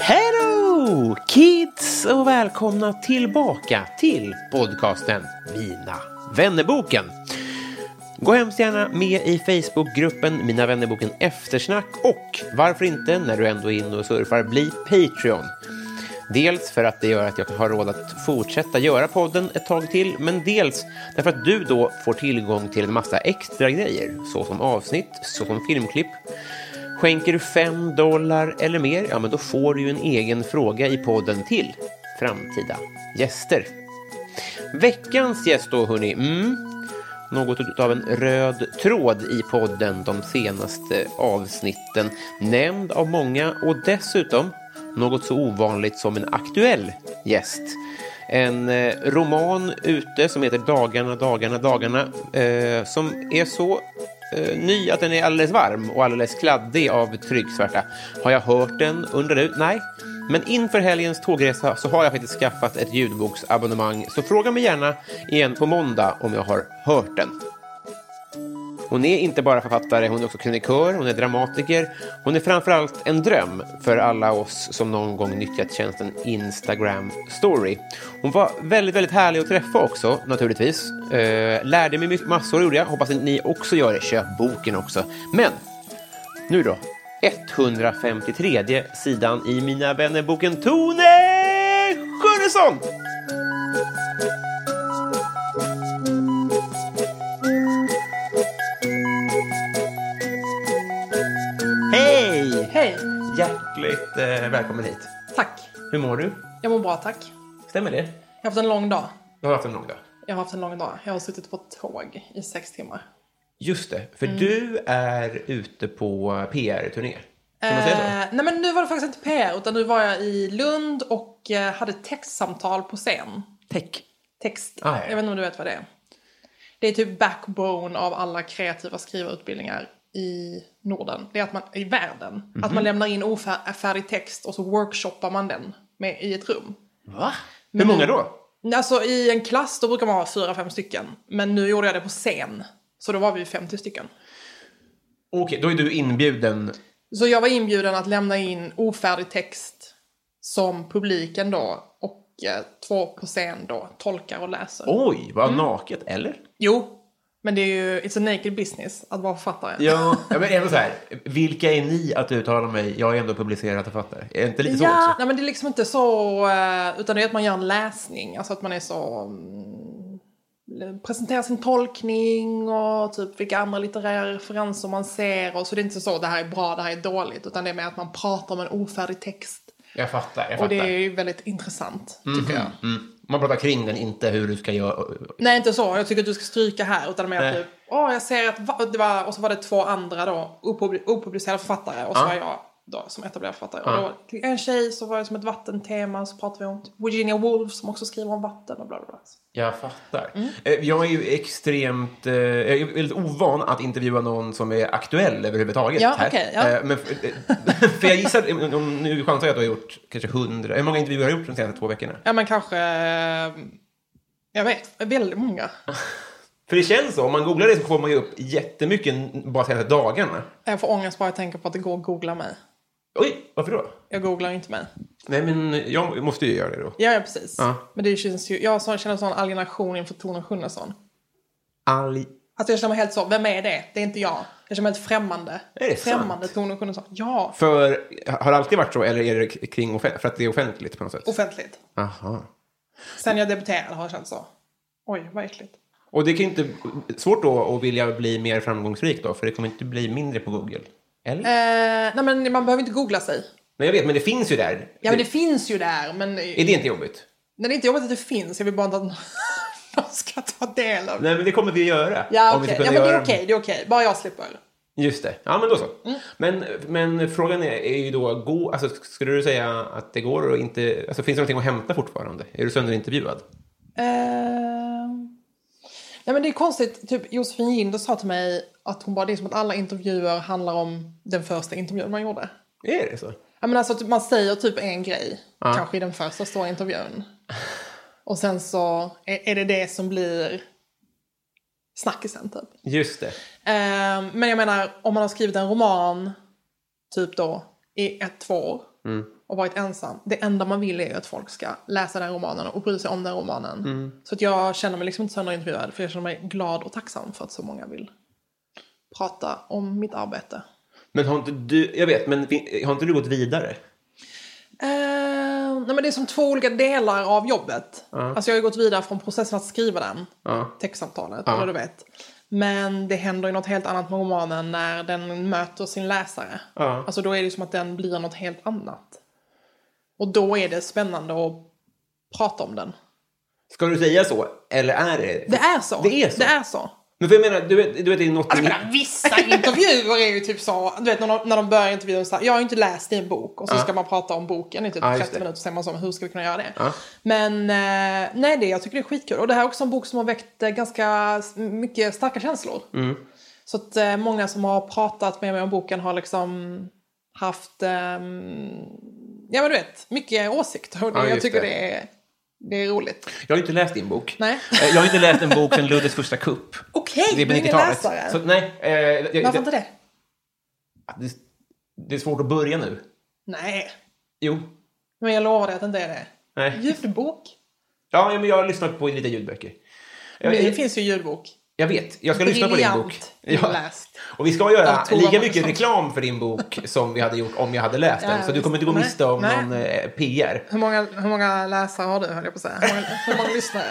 Hello kids och välkomna tillbaka till podcasten Mina vännerboken. Gå hemskt gärna med i Facebookgruppen Mina vännerboken eftersnack och varför inte när du ändå är inne och surfar bli Patreon. Dels för att det gör att jag har råd att fortsätta göra podden ett tag till, men dels därför att du då får tillgång till en massa extra grejer, såsom avsnitt, såsom filmklipp. Skänker du 5 dollar eller mer, ja men då får du ju en egen fråga i podden till framtida gäster. Veckans gäst då, hörni. Mm. Något av en röd tråd i podden de senaste avsnitten. Nämnd av många och dessutom något så ovanligt som en aktuell gäst. En eh, roman ute som heter Dagarna, dagarna, dagarna eh, som är så eh, ny att den är alldeles varm och alldeles kladdig av trycksvärta. Har jag hört den, undrar du? Nej. Men inför helgens tågresa så har jag faktiskt skaffat ett ljudboksabonnemang så fråga mig gärna igen på måndag om jag har hört den. Hon är inte bara författare, hon är också krönikör, hon är dramatiker. Hon är framförallt en dröm för alla oss som någon gång nyttjat tjänsten Instagram Story. Hon var väldigt, väldigt härlig att träffa också, naturligtvis. Eh, Lärde mig mycket- massor, gjorde jag. Hoppas att ni också gör det. Köp boken också. Men nu då, 153 sidan i Mina vännerboken Tone Schunnesson! Hej! Hej! Hjärtligt eh, välkommen hit. Tack! Hur mår du? Jag mår bra, tack. Stämmer det? Jag har haft en lång dag. Du har haft en lång dag. Jag har haft en lång dag. Jag har suttit på tåg i sex timmar. Just det, för du är ute på PR-turné. Kan man säga så? Eh, nej men nu var det faktiskt inte PR, utan nu var jag i Lund och eh, hade textsamtal på scen. Tech. Text. Ah, ja. Jag vet inte om du vet vad det är. Det är typ backbone av alla kreativa skrivarutbildningar i Norden. Det är att man, i världen. Att Mhm. man lämnar in ofärdig text och så workshoppar man den med, i ett rum. Va? Hur många då? Alltså i en klass då brukar man ha fyra, fem stycken. Men nu gjorde jag det på scen. Så då var vi 50 stycken. Okej, då är du inbjuden. Så jag var inbjuden att lämna in ofärdig text som publiken då och eh, två på scen då tolkar och läser. Oj, Mm. vad naket, eller? Jo, men det är ju it's a naked business att vara författare. Ja, ja, men ändå så här. Vilka är ni att uttala mig? Jag är ändå publicerad författare. Är det inte lite så Ja, också? nej men det är liksom inte så, eh, utan det är att man gör en läsning, alltså att man är så, mm, presenterar sin tolkning och typ vilka andra litterära referenser man ser och så det är inte så det här är bra, det här är dåligt, utan det är mer att man pratar om en ofärdig text. Jag fattar, jag Och det fattar. är ju väldigt intressant, tycker jag. Mm. Man pratar kring den, inte hur du ska göra. Nej, inte så. Jag tycker att du ska stryka här. Utan mer Nej. typ, åh, jag ser att va- det var, och så var det två andra då, opub- opublicerade författare. Och så Ja. var jag då som etablerad författare. Ja. Och då, en tjej så var det som ett vattentema, så pratade vi om typ Virginia Woolf som också skriver om vatten och bla bla bla. Jag fattar. Mm. Eh, Jag är ju extremt... eh, Jag är väldigt ovan att intervjua någon som är aktuell överhuvudtaget. Ja, här. okej, ja. Eh, Men för, eh, för jag gissar... om- Nu chansar jag att du har gjort kanske hundra... Hur många intervjuer har du gjort de senaste två veckorna? Ja, men kanske, eh, jag vet, väldigt många. För det känns så. Om man googlar det så får man ju upp jättemycket bara senaste dagarna. Jag får ångest bara jag tänker på att det går att googla mig. Oj, varför då? Jag googlar ju inte mig. Nej, men jag måste ju göra det då. Ja, ja precis. Ja. Men det känns ju, jag så- känner sån alienation inför Tone Schunnesson. Alj... Alltså jag känner mig helt så, vem är det? Det är inte jag. Jag känner mig helt främmande. Är det främmande Tone Schunnesson. Ja, För har det alltid varit så, eller är det kring offen- för att det är offentligt på något sätt? offentligt. Aha. Sen jag debuterade har jag känt så. Oj, vad äckligt. Och det kan ju inte... Svårt då att vilja bli mer framgångsrik då, för det kommer inte bli mindre på Google. Eller? Eh, nej men man behöver inte googla sig. Nej, jag vet, men det finns ju där. Ja men det finns ju där, men... Är det inte jobbigt? Nej, det är inte jobbigt att det finns, jag vill bara inte att någon ska ta del av det. Nej, men det kommer vi att göra. Ja, Om vi okej. ska kunna Ja, men det är göra- Mm. okej, det är okej. Bara jag slipper. Just det. Ja, men då så. Men, men frågan är, är ju då, gå, alltså, skulle du säga att det går att inte... Alltså, finns det någonting att hämta fortfarande? Är du sönderintervjuad? Ehm. Nej, men det är konstigt. Typ Josefin Ginder sa till mig att hon bara, det är som att alla intervjuer handlar om den första intervjun man gjorde. Är det så? Ja, men alltså, typ, man säger typ en grej, kanske i den första stora intervjun. Och sen så är, är det det som blir snackisen typ. Just det. Ehm, men jag menar, om man har skrivit en roman typ då i ett, två år och varit ensam. Det enda man vill är ju att folk ska läsa den romanen och bry sig om den romanen. Så att jag känner mig liksom inte sönderintervjuad för jag känner mig glad och tacksam för att så många vill prata om mitt arbete. Men har inte du... Jag vet, men fin- har inte du gått vidare? Ehm, nej men det är som två olika delar av jobbet. Alltså jag har ju gått vidare från processen att skriva den, Ja. textsamtalet, eller du vet. Men det händer ju något helt annat med romanen när den möter sin läsare. Ja. Alltså då är det som att den blir något helt annat. Och då är det spännande att prata om den. Ska du säga så? Eller är det... Det är så. Det är så? Det är så. Men för jag menar, du vet, du vet det är något... Alltså, jag menar, vissa intervjuer är ju typ så, du vet när de, när de börjar intervjun så här, jag har ju inte läst din bok och så ska man prata om boken i typ Ja, just 30 det. minuter och sen man så, hur ska vi kunna göra det? Ja. Men eh, nej, det, jag tycker det är skitkul och det här är också en bok som har väckt eh, ganska s- mycket starka känslor. Mm. Så att eh, många som har pratat med mig om boken har liksom haft, ehm, ja men du vet, mycket åsikter och det, Ja, jag just tycker det. det. är, det är roligt. Jag har inte läst din bok. Nej. Eh, Jag har inte läst en bok sedan Luddes första kupp. Okej, Det är på du är ingen 90-talet. läsare. Så, nej, eh, jag, Varför inte det? det? Det är svårt att börja nu. Nej, Jo. men jag lovar dig att det inte är det. Nej. Ljudbok? Ja, men jag har lyssnat på lite ljudböcker. Jag, Det finns ju ljudbok. jag vet, Eh, jag ska lyssna på din bok. Ja. inläst. Och vi ska göra Av Tova lika mycket Magnusson. reklam för din bok som vi hade gjort om jag hade läst den. Ja, Så du visst. kommer inte gå Nej, miste om nej. någon eh, PR. Hur många, hur många läsare har du, höll jag på att säga? Hur många, hur många lyssnare?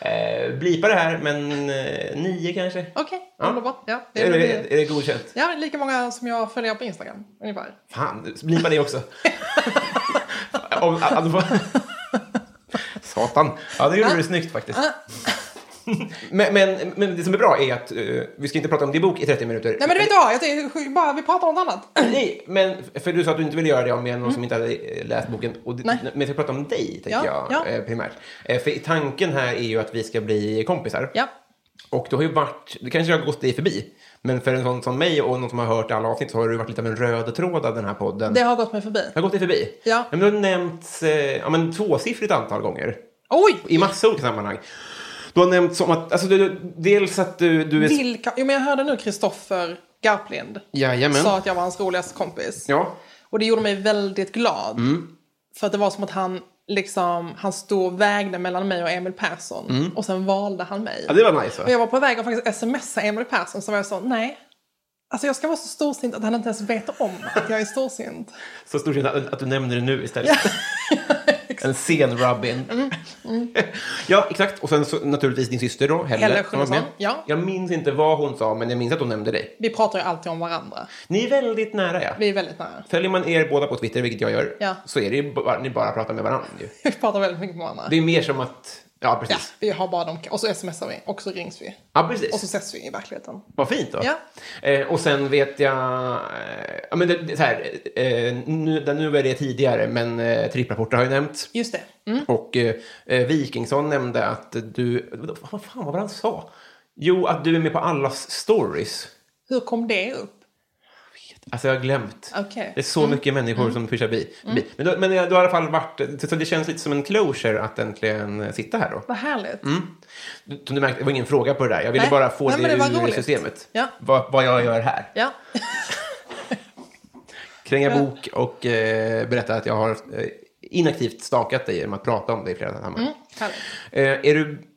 Eh, blipa det här, men eh, nio kanske? Okej, Ja. underbart. Ja, det Är, är, det, är det godkänt? ja, lika många som jag följer på Instagram, ungefär. Fan, blipa det också. om, a- a- Satan. Ja, det gjorde du snyggt Ah, faktiskt. men, men, men det som är bra är att eh, vi ska inte prata om din bok i 30 minuter. Nej, men du vet vad? Jag tänkte, bara, vi pratar om något annat. Nej, men för du sa att du inte ville göra det om någon som inte hade eh, läst boken. Och det, Nej. Men jag ska prata om dig, tänker Ja, jag ja. eh, primärt. Eh, För tanken här är ju att vi ska bli kompisar. Ja. Och du har ju varit, det kanske har gått dig förbi, men för en sån som mig och någon som har hört alla avsnitt så har du varit lite av en röd tråd av den här podden. Det har gått mig förbi. Jag har gått dig förbi. Ja. Men du har nämnts eh, ja, men tvåsiffrigt antal gånger. Oj! I massa olika sammanhang. Du har nämnt som att, alltså, du, du- dels att du, du är... Vilka, jo, men jag hörde nu Kristoffer Garplind Jajamän. sa att jag var hans roligaste kompis. Ja. Mm. Och det gjorde mig väldigt glad. För att det var som att han liksom, han stod och vägde mellan mig och Emil Persson. Mm. Och sen valde han mig. ja, det var nice Och va? jag var på väg att faktiskt smsa Emil Persson så var jag så, nej. Alltså jag ska vara så storsint att han inte ens vet om att jag är storsint. Så stort att, att du nämner det nu istället. en sen Robin. Mm. ja, exakt. Och sen så, naturligtvis din syster då, Helle. Helle som var Schunnesson, med. ja. Jag minns inte vad hon sa, men jag minns att hon nämnde dig. Vi pratar ju alltid om varandra. Ni är väldigt nära, ja. Vi är väldigt nära. Följer man er båda på Twitter, vilket jag gör, Ja. så är det ju bara, ni bara pratar med varandra. Ju. Vi pratar väldigt mycket med varandra. Det är mer som att... Ja, precis. Ja, vi har bara dem. Och så smsar vi. Och så rings vi. Ja, precis. Och så ses vi i verkligheten. Vad fint då. Ja. Eh, och sen vet jag... Eh, ja, men det, det, så här, eh, nu, där nu är det tidigare, men eh, tripprapporter har ju nämnt. Just det. Mm. Och eh, eh, Wikingsson nämnde att du... Vad fan vad var det han sa? Jo, att du är med på allas stories. Hur kom det upp? Alltså jag har glömt. Okej. Mm. Det är så mycket människor som pushar bi. bi. Men, du, men du har i alla fall varit... Så det känns lite som en closure att äntligen eh, sitta här då. Vad härligt. Mm. Du- Som du märkte, det var ingen fråga på det där. Jag ville Nej. bara få Nej, det, men det var ur roligt. systemet. Ja. Vad, vad jag gör här. Ja. Kränga bok och eh, berätta att jag har eh, inaktivt stakat dig genom att prata om dig i flera timmar. härligt. Mm. Eh, är du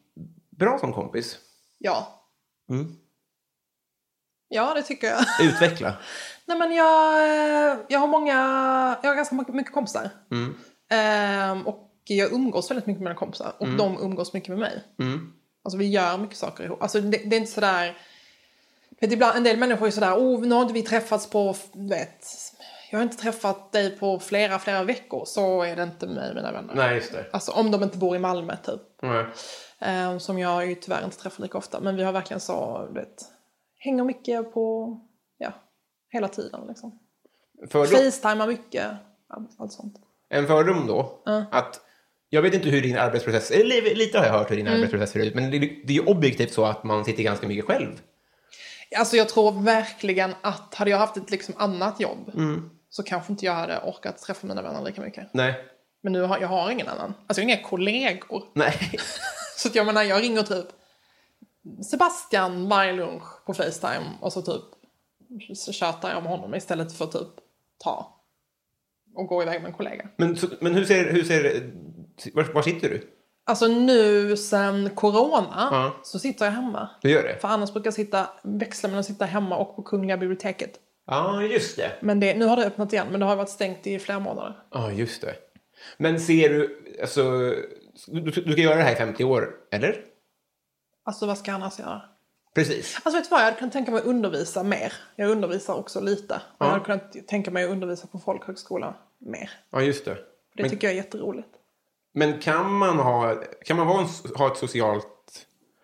bra som kompis? Ja. Mm. Ja, det tycker jag. Utveckla. Nej men jag, eh, jag har många, jag har ganska mycket- mycket kompisar. Ehm, och jag umgås väldigt mycket med mina kompisar. Och de umgås mycket med mig. Mm. Alltså vi gör mycket saker ihop. Alltså det, det är inte sådär... Vet, ibland, en del människor är sådär, oh, nu har inte vi träffats på, du vet, jag har inte träffat dig på flera, flera veckor. Så är det inte med mig och mina vänner. Nej, just det. Alltså om de inte bor i Malmö typ. Nej. Ehm, som jag ju tyvärr inte träffar lika ofta. Men vi har verkligen så, du vet, hänger mycket på, ja, hela tiden liksom. Fördom, Facetimar mycket, ja, allt sånt. en fördom då, att jag vet inte hur din arbetsprocess, eller li- lite har jag hört hur Mm. din arbetsprocess ser ut, men det, det är ju objektivt så att man sitter ganska mycket själv. Alltså jag tror verkligen att hade jag haft ett liksom annat jobb så kanske inte jag hade orkat träffa mina vänner lika mycket. Nej. Men nu har jag har ingen annan. Alltså jag har inga kollegor. Nej. Så att jag menar, jag ringer typ Sebastian varje lunch på Facetime och så typ så tjatar jag om honom istället för typ ta och gå iväg med en kollega. Men, så- men hur ser, hur ser var, var sitter du? Alltså nu sen corona Ja. så sitter jag hemma. Du gör det? För annars brukar jag sitta, växla mellan att sitta hemma och på Kungliga biblioteket. Ja, just det. Men det, nu har det öppnat igen, men det har varit stängt i flera månader. Ja, just det. Men ser du, alltså, du, du ska göra det här i 50 år, eller? Alltså vad ska jag annars göra? Precis. Alltså vet du vad, jag hade kunnat tänka mig att undervisa mer. Jag undervisar också lite. Och Jag hade kunnat tänka mig att undervisa på folkhögskola mer. Ja, just det. Det Men, tycker jag är jätteroligt. men kan man ha, kan man vara en, ha ett socialt...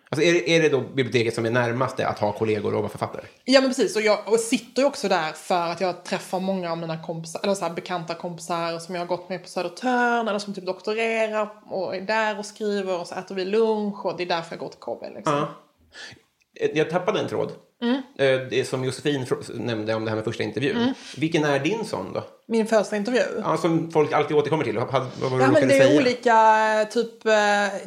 Alltså är, det- är det då biblioteket som är närmast det att ha kollegor och vara författare? Ja men precis, och jag och sitter ju också där för att jag träffar många av mina kompisar, eller så här bekanta kompisar som jag har gått med på Södertörn eller som typ doktorerar och är där och skriver och så äter vi lunch och det är därför jag går till KB liksom. Ja. Eh, Jag tappade en tråd. Mm. Eh, Det som Josefin fr- nämnde om det här med första intervjun. Vilken är din sån då? Min första intervju. Ja, som folk alltid återkommer till. Vad vad var det Ja, du men råkade det är säga? olika, eh, typ eh,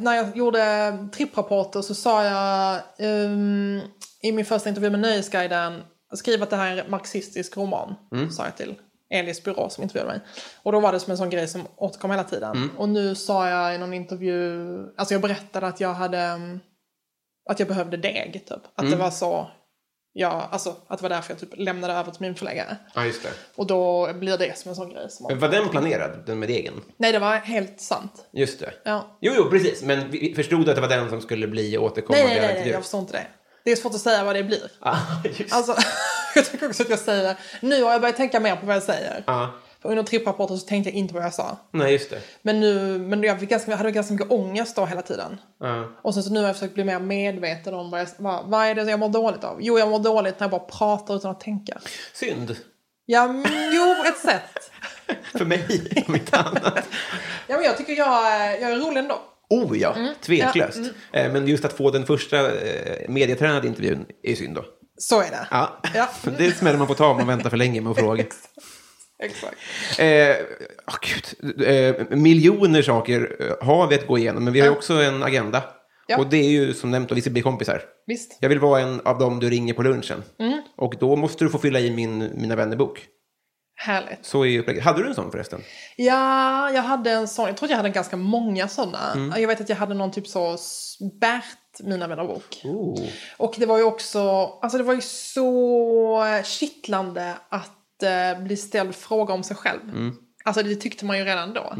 när jag gjorde tripprapporter så sa jag ehm, i min första intervju med Nöjesguiden, skriv att det här är en marxistisk roman, Mm. sa jag till Elis byrå som intervjuade mig. Och då var det som en sån grej som återkom hela tiden. Mm. Och nu sa jag i någon intervju, alltså jag berättade att jag hade, mm, att jag behövde deg typ. Att Mm. det var så, ja, alltså att det var därför jag typ lämnade över till min förläggare. Ja, just det. Och då blir det som en sån grej som, Men Var den planerad, den med degen? nej det var helt sant. Just det. Ja. Jo, jo, precis. Men vi- vi förstod du att det var den som skulle bli återkommande Nej, nej, i alla nej, nej, intervjuer? jag förstår inte det. Det är svårt att säga vad det blir. Ah, just. Alltså, jag tycker också att jag säger, nu har jag börjat tänka mer på vad jag säger. Ja. För under tripprapporten så tänkte jag inte på vad jag sa. Nej, just det. Men nu, men jag fick ganska, jag hade ganska mycket ångest då hela tiden. Ja. Och sen så nu har jag försökt bli mer medveten om vad, jag, vad, vad är det jag mår dåligt av. Jo, jag mår dåligt när jag bara pratar utan att tänka. Synd. Ja, men, jo, på ett sätt. För mig, om inte annat. Ja, men jag tycker jag, är- jag är rolig ändå. Oh ja, Mm. tveklöst. Eh, Men just att få den första eh, medietränade intervjun är synd då. Så är det. Ja, Ja. det smäller man på ta om man väntar för länge med att fråga. Exakt. Eh, åh, gud. Eh, miljoner saker eh, har vi att gå igenom, men vi har ju också en agenda. Ja. Och det är ju som nämnt, och vi ska bli kompisar. Visst. Jag vill vara en av dem du ringer på lunchen. Mm. Och då måste du få fylla i min Mina vännerbok. Härligt. Så är ju upplägget. Hade du en sån förresten? Ja, jag hade en sån. Jag tror att jag hade ganska många sådana. Mm. Jag vet att jag hade någon typ så s- Bert, mina vänner bok. Oh. Och det var ju också, alltså det var ju så kittlande att eh, bli ställd fråga om sig själv. Mm. Alltså det tyckte man ju redan då.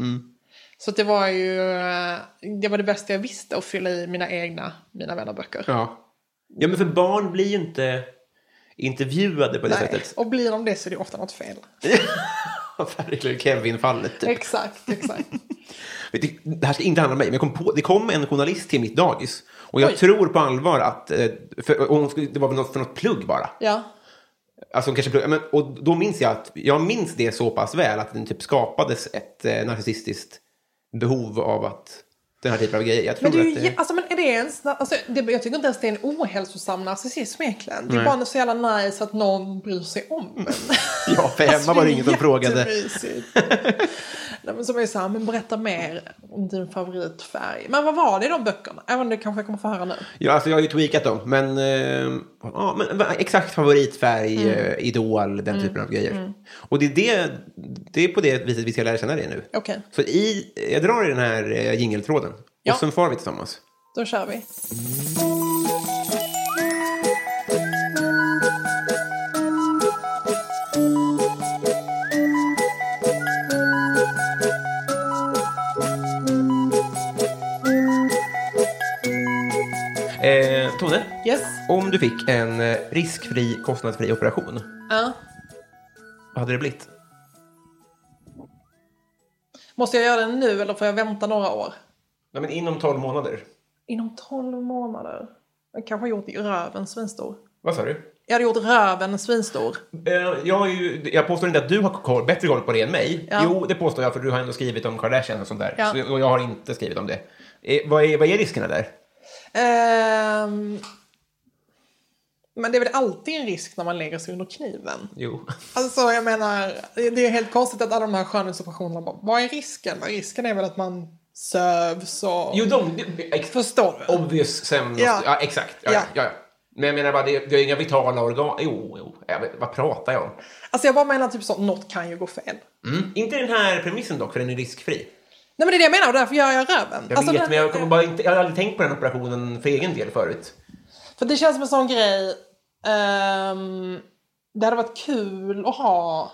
Så att det var ju, eh, det var det bästa jag visste att fylla i mina egna mina vänner böcker. Ja. ja, men för barn blir ju inte intervjuade på det Nej. sättet. Typ. Och blir de det så är det ofta något fel. Verkligen Kevin-fallet. Typ. Exakt, exakt. Vet du, Det här ska inte handla om mig, men jag kom på, det kom en journalist till mitt dagis. Och jag Oj. tror på allvar att... eh, För, och hon skulle, det var väl något, för något plugg bara. ja. Alltså, hon kanske plugg, men, och då minns jag att jag minns det så pass väl att det typ skapades ett eh, narcissistiskt behov av att den här typen av grejer. Jag tror Men, det är, att ju, eh, jä- alltså, men är det ens, alltså, det, jag tycker inte ens det är en ohälsosam narcissism egentligen. Det är Nej. bara så jävla nice att någon bryr sig om en. Alltså, Ja, för hemma var det ingen som frågade. jättemysigt. Nej, men som är så här, men berätta mer om din favoritfärg. Men vad var det i de böckerna? Även det kanske jag kommer få höra nu. Ja, alltså jag har ju tweakat dem, men, eh, ja, men va- exakt favoritfärg, Mm. eh, idol, den typen av grejer. Och det är, det, det är på det viset vi ska lära känna det nu. Okej, Så i, jag drar i den här eh, jingeltråden Ja. och sen far vi tillsammans. då kör vi. Eh, Tone, Yes. om du fick en eh, riskfri, kostnadsfri operation, Ja. vad hade det blivit? Måste jag göra den nu eller får jag vänta några år? Ja, men inom 12 månader. Inom 12 månader. Jag kanske har gjort röven svinstor. Vad sa du? Jag hade gjort röven svinstor. Eh, Jag, har ju, jag påstår inte att du har koll, bättre koll på det än mig. Ja. Jo, det påstår jag, för du har ändå skrivit om Kardashian och sånt där. Ja. Så, och jag har inte skrivit om det. Eh, vad, är, vad är riskerna där? Ehm, men det är väl alltid en risk när man lägger sig under kniven. Jo. Alltså jag menar, det är helt konstigt att alla de här skönhetsoperationerna bara, vad är risken? Men Risken är väl att man sövs och... Jo, de... de ex, Förstår du? obvious sömn... Ja. Ja. exakt. Ja, ja. Ja. Ja, ja. Men jag menar bara, det, det är inga vitala organ. Jo, jo. Jag vet, vad pratar jag om? Alltså jag bara menar typ så, något kan ju gå fel. Mm. Inte den här premissen dock, för den är riskfri. Nej men det är det jag menar och därför gör jag röven. Jag alltså, vet, det- men jag, kommer bara inte, jag har aldrig tänkt på den operationen för egen del förut. För det känns som en sån grej, ehm, det hade varit kul att ha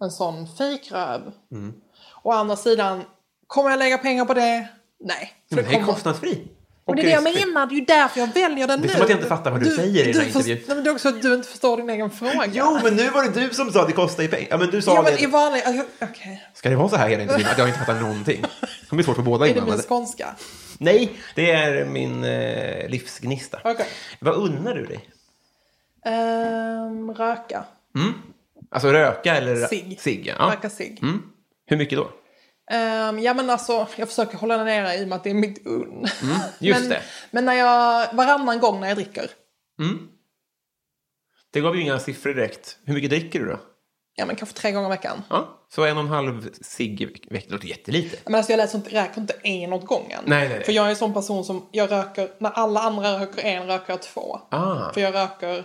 en sån fejkröv. Mm. Å andra sidan, kommer jag lägga pengar på det? Nej. För Men det är kommer- kostnadsfri. Och det är det jag menar, det är ju därför jag väljer den Det är nu. som att jag inte fattar vad du säger i den här först- intervjun. Nej, men det är också att du inte förstår din egen fråga. Jo, men nu var det du som sa att det kostar ju pengar. Ja, men du sa Ja, men det. i vanliga... Okej, okej. Ska det vara så här hela intervjun? Att jag inte fattar någonting? Det kommer bli svårt för båda är det min inblandade. skånska? Nej, det är min eh, livsgnista. Okej. Vad unnar du dig? Ehm, röka. Alltså röka eller? Cigg. Cigg, ja. Röka cigg. Mm. Hur mycket då? Ehm, ja men alltså, jag försöker hålla den nere i och med att det är mitt unn. Mm, just men, det. Men när jag, varannan gång när jag dricker, Det gav ju inga siffror direkt. Hur mycket dricker du då? ja men kanske tre gånger i veckan. Ja, så en och en halv cigg i veckan låter jättelite. Men alltså jag läser inte, räknar inte en åt gången. Nej, nej, nej. För jag är en sån person som, jag röker, när alla andra röker en röker jag två. Ah. För jag röker,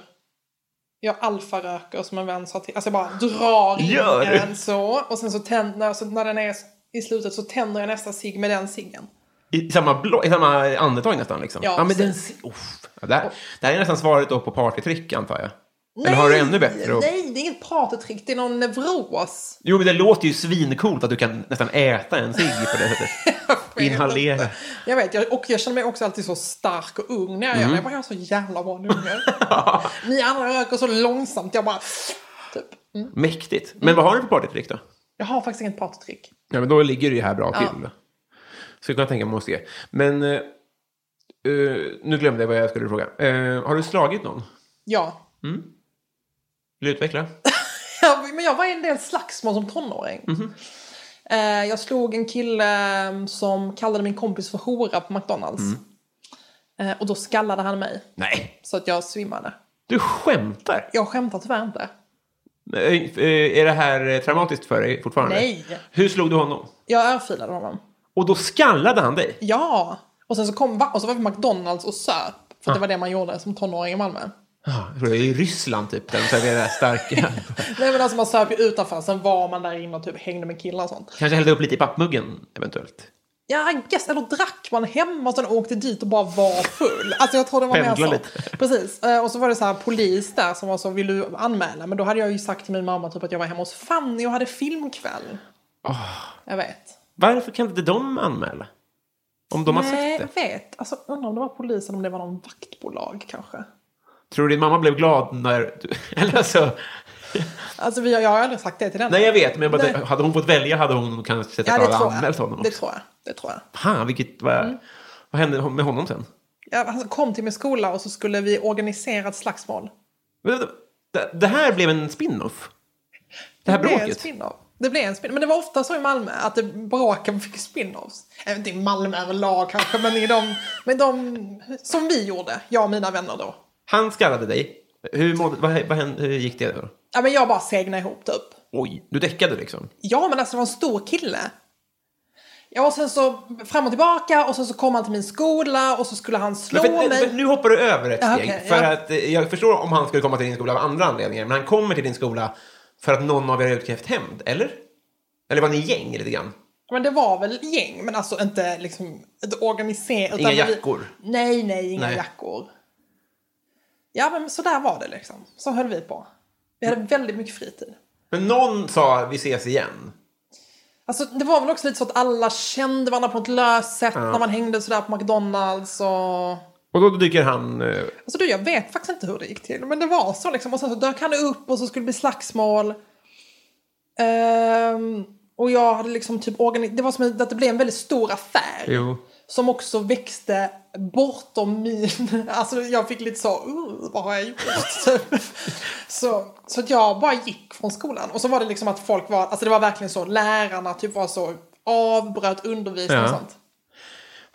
jag alfaröker som en vän sa till. Alltså jag bara drar in Gör du? en så. Och sen så tänder, så när den är i slutet så tänder jag nästa cigg med den ciggen. I samma, blå, I samma andetag nästan liksom? Ja, men den... precis. Uff. Ja, det, här, det här är nästan svaret då på partytrick antar jag. Eller har du ännu bättre? att- Nej, det är inget pratetrick, det är någon neuros. Jo, men det låter ju svincoolt att du kan nästan äta en cigg på det sättet. Inhalera. Jag vet, jag, och jag känner mig också alltid så stark och ung när jag gör det. Jag bara, jag har så jävla bra nummer. Ni andra röker så långsamt, jag bara... Typ. Mm. Mäktigt. Men vad har du för partytrick då? Jag har faktiskt inget pratetrick. Ja, men då ligger du ju här bra Ja. till. Så jag kan tänka mig att se. Men eh, eh, nu glömde jag vad jag skulle fråga. Eh, har du slagit någon? Ja. Vill du utveckla? Ja, men jag var i en del slagsmål som tonåring. Eh, Jag slog en kille eh, som kallade min kompis för hora på McDonalds. Eh, Och då skallade han mig Nej. så att jag svimmade. Du skämtar? Jag skämtar tyvärr inte. Eh, eh, är det här eh, traumatiskt för dig fortfarande? Nej. Hur slog du honom? Jag örfilade honom. Och då skallade han dig? Ja! Och sen så kom va- och så var vi på McDonalds och söp. För att det var det man gjorde som tonåring i Malmö. Ah, jag tror det är i Ryssland typ, där de serverar starka. Nej men alltså man söp ju utanför, sen var man där inne och typ hängde med killar och sånt. Kanske hällde upp lite i pappmuggen eventuellt. Ja, I guess, eller drack man hemma och sen åkte dit och bara var full. Alltså jag tror det var mer Pendla så. lite. Precis. Eh, Och så var det så här polis där som var så, vill du anmäla? Men då hade jag ju sagt till min mamma typ att jag var hemma hos Fanny och hade filmkväll. Ah. Jag vet. Varför kan inte de anmäla? Om de har Nej, sagt det. jag vet. Alltså undrar om det var polis eller om det var någon vaktbolag kanske. Tror du din mamma blev glad när du... Eller alltså... Alltså vi, har- jag har aldrig sagt det till den. Nej, jag vet. Men jag bara, Nej. tänkte, hade hon fått välja hade hon kanske sett ja, att det alla tror anmält jag. honom Det Mm. också. tror jag. Det tror jag. Fan, vilket... Vad, vad hände med honom sen? Ja, han kom till min skola och så skulle vi organisera ett slagsmål. Men, vänta, Det, det här blev en spin-off. Det här blev en bråket. spin-off. Det blev en spin Men det var ofta så i Malmö att det braken fick spin-offs. Även inte i Malmö överlag kanske, men i de, men de som vi gjorde, jag och mina vänner då. Han skallade dig. Hur, mådde, vad, vad hände, hur gick det då? Ja, men jag bara segnade ihop typ. Oj, du däckade liksom. Ja, men alltså det var en stor kille. Ja, och sen så fram och tillbaka och sen så kom han till min skola och så skulle han slå Men för, mig. för, nu hoppar du över ett Ja, steg. okej, för ja. att, eh, jag förstår om han skulle komma till din skola av andra anledningar, men han kommer till din skola för att någon av er har utkrävt hämnd, eller? Eller var ni gäng lite grann? Men det var väl gäng, men alltså inte liksom ett organiserat. Inga utan vi- jackor? Nej, nej, inga Nej. jackor. Ja, men så där var det liksom. Så höll vi på. Vi Mm. hade väldigt mycket fritid. Men någon sa vi ses igen. Alltså, det var väl också lite så att alla kände varandra på ett löst sätt när man hängde sådär på McDonalds och... Och då dyker han... eh, Alltså du, jag vet faktiskt inte hur det gick till, men det var så liksom. Och sen så dök han upp och så skulle det bli slagsmål. Ehm, och jag hade liksom typ organiserat... Det var som att det blev en väldigt stor affär. Jo. Som också växte bortom min... Alltså jag fick lite så, uh, vad har jag gjort? Typ. så, så att jag bara gick från skolan. Och så var det liksom att folk var, alltså det var verkligen så, lärarna typ var så, avbröt undervisning och Ja. sånt.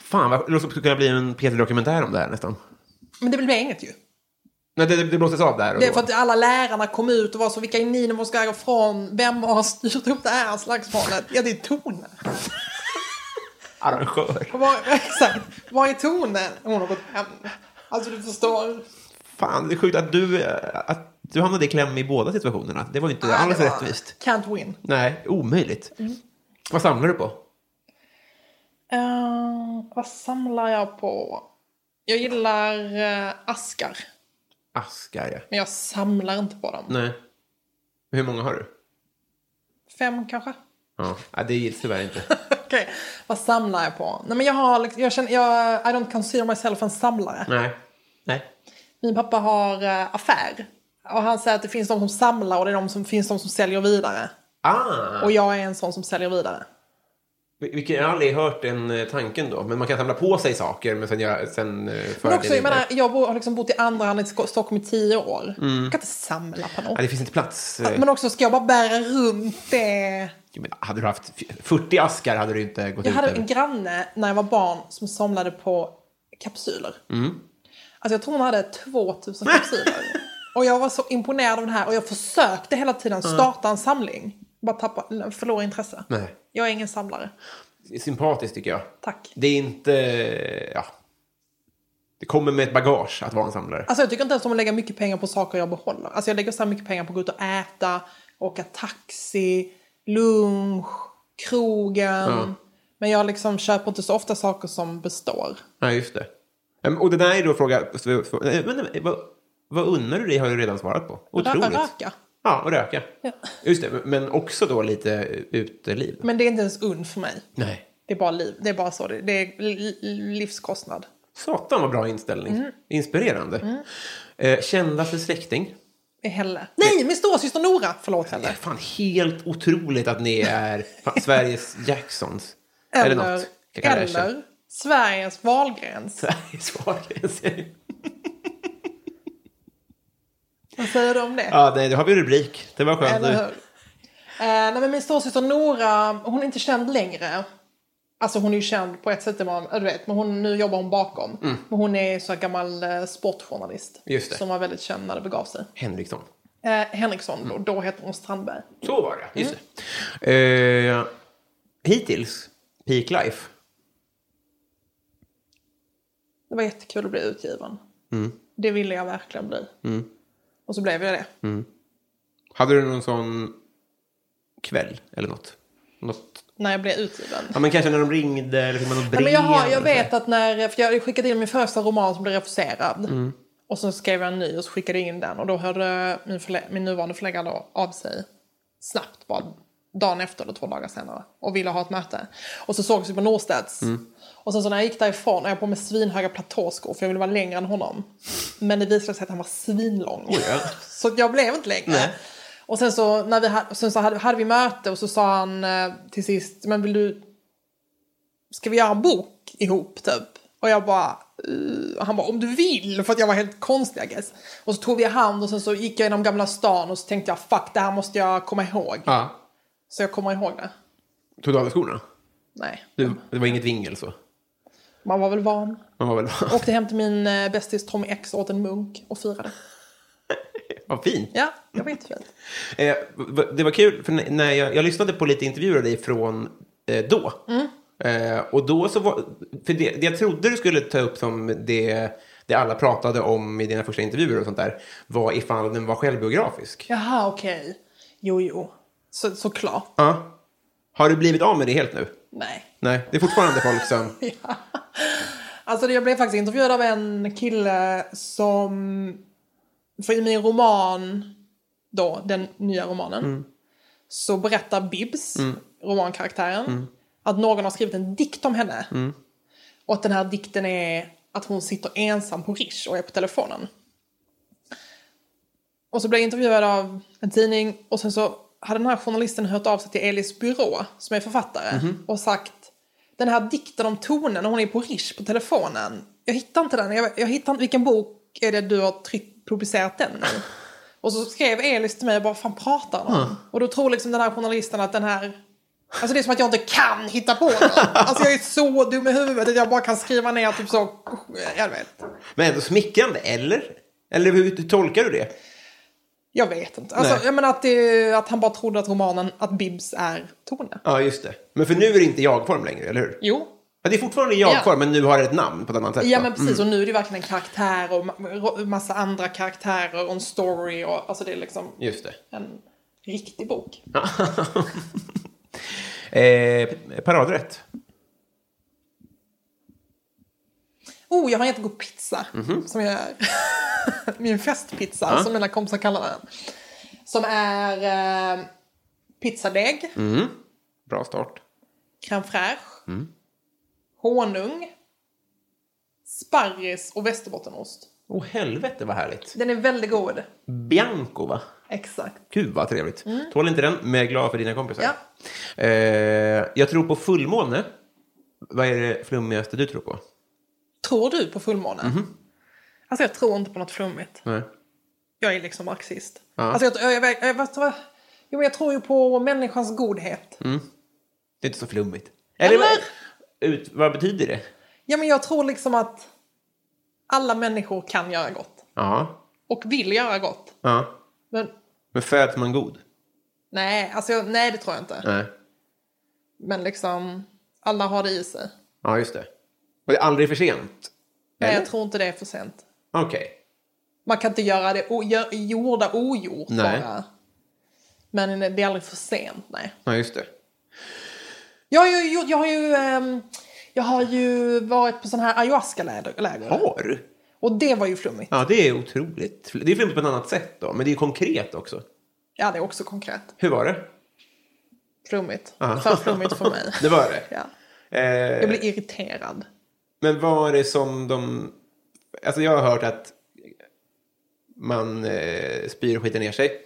Fan, vad- det låter som att det skulle kunna bli en P3-dokumentär om det här nästan. Men det blev inget ju. Nej, det, det, det blåses av där och Det är då. för att alla lärarna kom ut och var så, vilka är ni, ni måste gå härifrån, vem har styrt upp det här slagsmålet? Ja, det är Tone. Arrangör. Var, exakt, var är Tone? Hon har gått hem. Alltså du förstår. Fan, det är sjukt att du, eh, att du hamnade i kläm i båda situationerna. Det var ju inte Ja, alls det var- Mm. rättvist. Can't win. Nej, omöjligt. Vad samlar du på? Eh, vad samlar jag på? Jag gillar eh, askar, Askar, ja. men jag samlar inte på dem. Nej. Hur många har du? Fem kanske? Ja, ja det gills tyvärr inte. Okej, vad samlar jag på? Nej men jag har liksom, jag känner, jag, I don't consider myself en samlare. Nej. Nej. Min pappa har eh, affär. Och han säger att det finns de som samlar och det är de som, finns de som säljer vidare. Ah! Och jag är en sån som säljer vidare. Vil- Vilken, jag har aldrig hört den eh, tanken då. Men man kan samla på sig saker, men sen, göra- sen eh, föra Men det också, jag vidare. menar, jag bor, har liksom bott i andra hand i Sk- Stockholm i tio år. Jag kan inte samla på något. Ja, det finns inte plats. eh. Men också, ska jag bara bära runt det? Ja, men hade du haft f- 40 askar hade du inte gått Jag ut hade över. en granne när jag var barn som samlade på kapsyler. Alltså jag tror hon hade 2000 kapsyler. och jag var så imponerad av det här och jag försökte hela tiden starta en samling. Bara tappa, förlora intresse. Nej. Jag är ingen samlare. Sympatiskt tycker jag. Tack. Det är inte... Ja. Det kommer med ett bagage att vara en samlare. Alltså jag tycker inte ens om att lägga mycket pengar på saker jag behåller. Alltså jag lägger så här mycket pengar på att gå ut och äta, åka taxi, lunch, krogen. Men jag liksom köper inte så ofta saker som består. Ja, just det. Ehm, Och det där är då fråga... så- så- nej, Men, nej, vad, vad unnar du dig har du redan svarat på. Otroligt. Röka. Ja, och röka. Just det, men också då lite uteliv. Men det är inte ens und för mig. Nej. Det är bara liv. Det är bara så. Det, det är li- li- livskostnad. Satan vad bra inställning. Mm. Inspirerande. Eh, kändaste släkting. Det är Helle. Nej, min storasyster Nora! Förlåt Det är Helle. fan helt otroligt att ni är fan, Sveriges Jacksons. Eller Eller, något. Jag kallar det eller Sveriges valgräns. Sveriges Wahlgrens. Vad säger du om det? Ja, nej, då har vi rubrik. Det var skönt Eller hur? nu. Eh, nej, men min storasyster Nora, hon är inte känd längre. Alltså hon är ju känd på ett sätt, det var- ja, du vet, men hon, nu jobbar hon bakom. Men hon är så här gammal eh, sportjournalist. Just det. Som var väldigt känd när Mm. det begav sig. Henriksson. Eh, Henriksson, och då heter hon Strandberg. Så var det, Mm. just det. Eh, hittills, Peak Life. Det var jättekul att bli utgiven. Det ville jag verkligen bli. Och så blev jag det. Hade du någon sån kväll eller något? något? När jag blev utgiven. Ja, alltså. men kanske när de ringde eller fick man något brev? Nej, men jag, har, eller jag så. vet att när, för jag skickade in min första roman som blev refuserad. Och sen skrev jag en ny och så skickade jag in den. Och då hörde min, förlä, min nuvarande förläggare då av sig snabbt bara dagen efter eller två dagar senare och ville ha ett möte. Och så sågs vi på Norstedts. Och sen så när jag gick därifrån hade jag på mig svinhöga platåskor för jag ville vara längre än honom. Men det visade sig att han var svinlång. Så jag blev inte längre. Och sen så, när vi, ha- sen så hade, hade vi möte och så sa han eh, till sist, men vill du ska vi göra en bok ihop typ? Och jag bara, "Eh", och han bara, om du vill, för att jag var helt konstig I guess. Och så tog vi hand och sen så gick jag genom Gamla stan och så tänkte jag, fuck det här måste jag komma ihåg. Ja. Så jag kommer ihåg det. Tog du av dig skorna? Nej. Det, det var inget vingel så? Man var väl van. Man var väl... Åkte hem till min eh, bästis Tommy X åt en munk och firade. Vad fint. Ja, det var jättefint. Eh, v- det var kul, för n- när jag, jag lyssnade på lite intervjuer av dig från eh, då. Mm. Eh, och då så var, för det, det jag trodde du skulle ta upp som det, det alla pratade om i dina första intervjuer och sånt där var ifall den var självbiografisk. Jaha, okej. Jo, jo. Så, såklart. Ja. Har du blivit av med det helt nu? Nej. Nej, det är fortfarande folk som... Ja. Alltså jag blev faktiskt intervjuad av en kille som... För i min roman, då, den nya romanen, så berättar Bibs, romankaraktären, att någon har skrivit en dikt om henne. Och att den här dikten är att hon sitter ensam på Rish och är på telefonen. Och så blev jag intervjuad av en tidning och sen så hade den här journalisten hört av sig till Elis byrå som är författare och sagt den här dikten om tonen när hon är på Rish på telefonen. Jag hittar inte den. Jag, jag hittar inte vilken bok är det du har tryckt, publicerat den i? Och så skrev Elis till mig bara fan pratar han om? Och då tror liksom den här journalisten att den här Alltså det är som att jag inte kan hitta på något. Alltså jag är så dum i huvudet att jag bara kan skriva ner typ så, jag vet. Men ändå smickrande, eller? Eller hur hur tolkar du det? Jag vet inte. Alltså, Nej. jag menar att, det, att han bara trodde att romanen, att Bibs är Tone. Ja, just det. Men för nu är det inte jag-form längre, eller hur? Jo. Ja, det är fortfarande jag-form, men nu har det ett namn på ett annat sätt. Ja då. men precis, och nu är det verkligen en karaktär och ma- massa andra karaktärer och en story och alltså det är liksom Mm. Just det. en riktig bok. Eh, paradrätt. Oh, jag har en jättegod pizza som jag Min festpizza som mina kompisar kallar den. Som är eh, pizzadeg, Bra start. crème fraîche, honung, sparris och västerbottenost. Åh, helvete vad härligt. Den är väldigt god. Bianco, va? Exakt. Gud, vad trevligt. Tål inte den, men jag är glad för dina kompisar. Mm. Ja. Eh, jag tror på fullmåne. Vad är det flummigaste du tror på? Tror du på fullmåne? Mhm. Alltså jag tror inte på något flummigt. Nej. Jag är liksom marxist. Alltså jag, jag, jag, jag, vet du vad? Jo, men jag tror ju på människans godhet. Mm. Det är inte så flummigt. Eller? Eller? Vad, ut, vad betyder det? Ja, men jag tror liksom att alla människor kan göra gott. Ja. Och vill göra gott. ja. Men Men föds man god? nej, alltså jag, nej det tror jag inte. Nej. Men liksom, alla har det i sig. Ja, just det. Och det är aldrig för sent? Nej, Eller? jag tror inte det är för sent. Okej. Man kan inte göra det o, gör, gjorda ogjort Nej. bara. Men det är aldrig för sent, nej. Ja, just det. Jag har ju, gjort- jag har ju, ehm, jag har ju varit på sån här ayahuasca-läger. Har du? Och det var ju flummigt. Ja, det är otroligt. Det är flummigt på ett annat sätt då, men det är konkret också. Ja, det är också konkret. Hur var det? Flummigt. För flummigt för mig. Det var det? Ja. Eh, Jag blir irriterad. Men vad är det som de... Alltså jag har hört att man eh, spyr och skiter ner sig.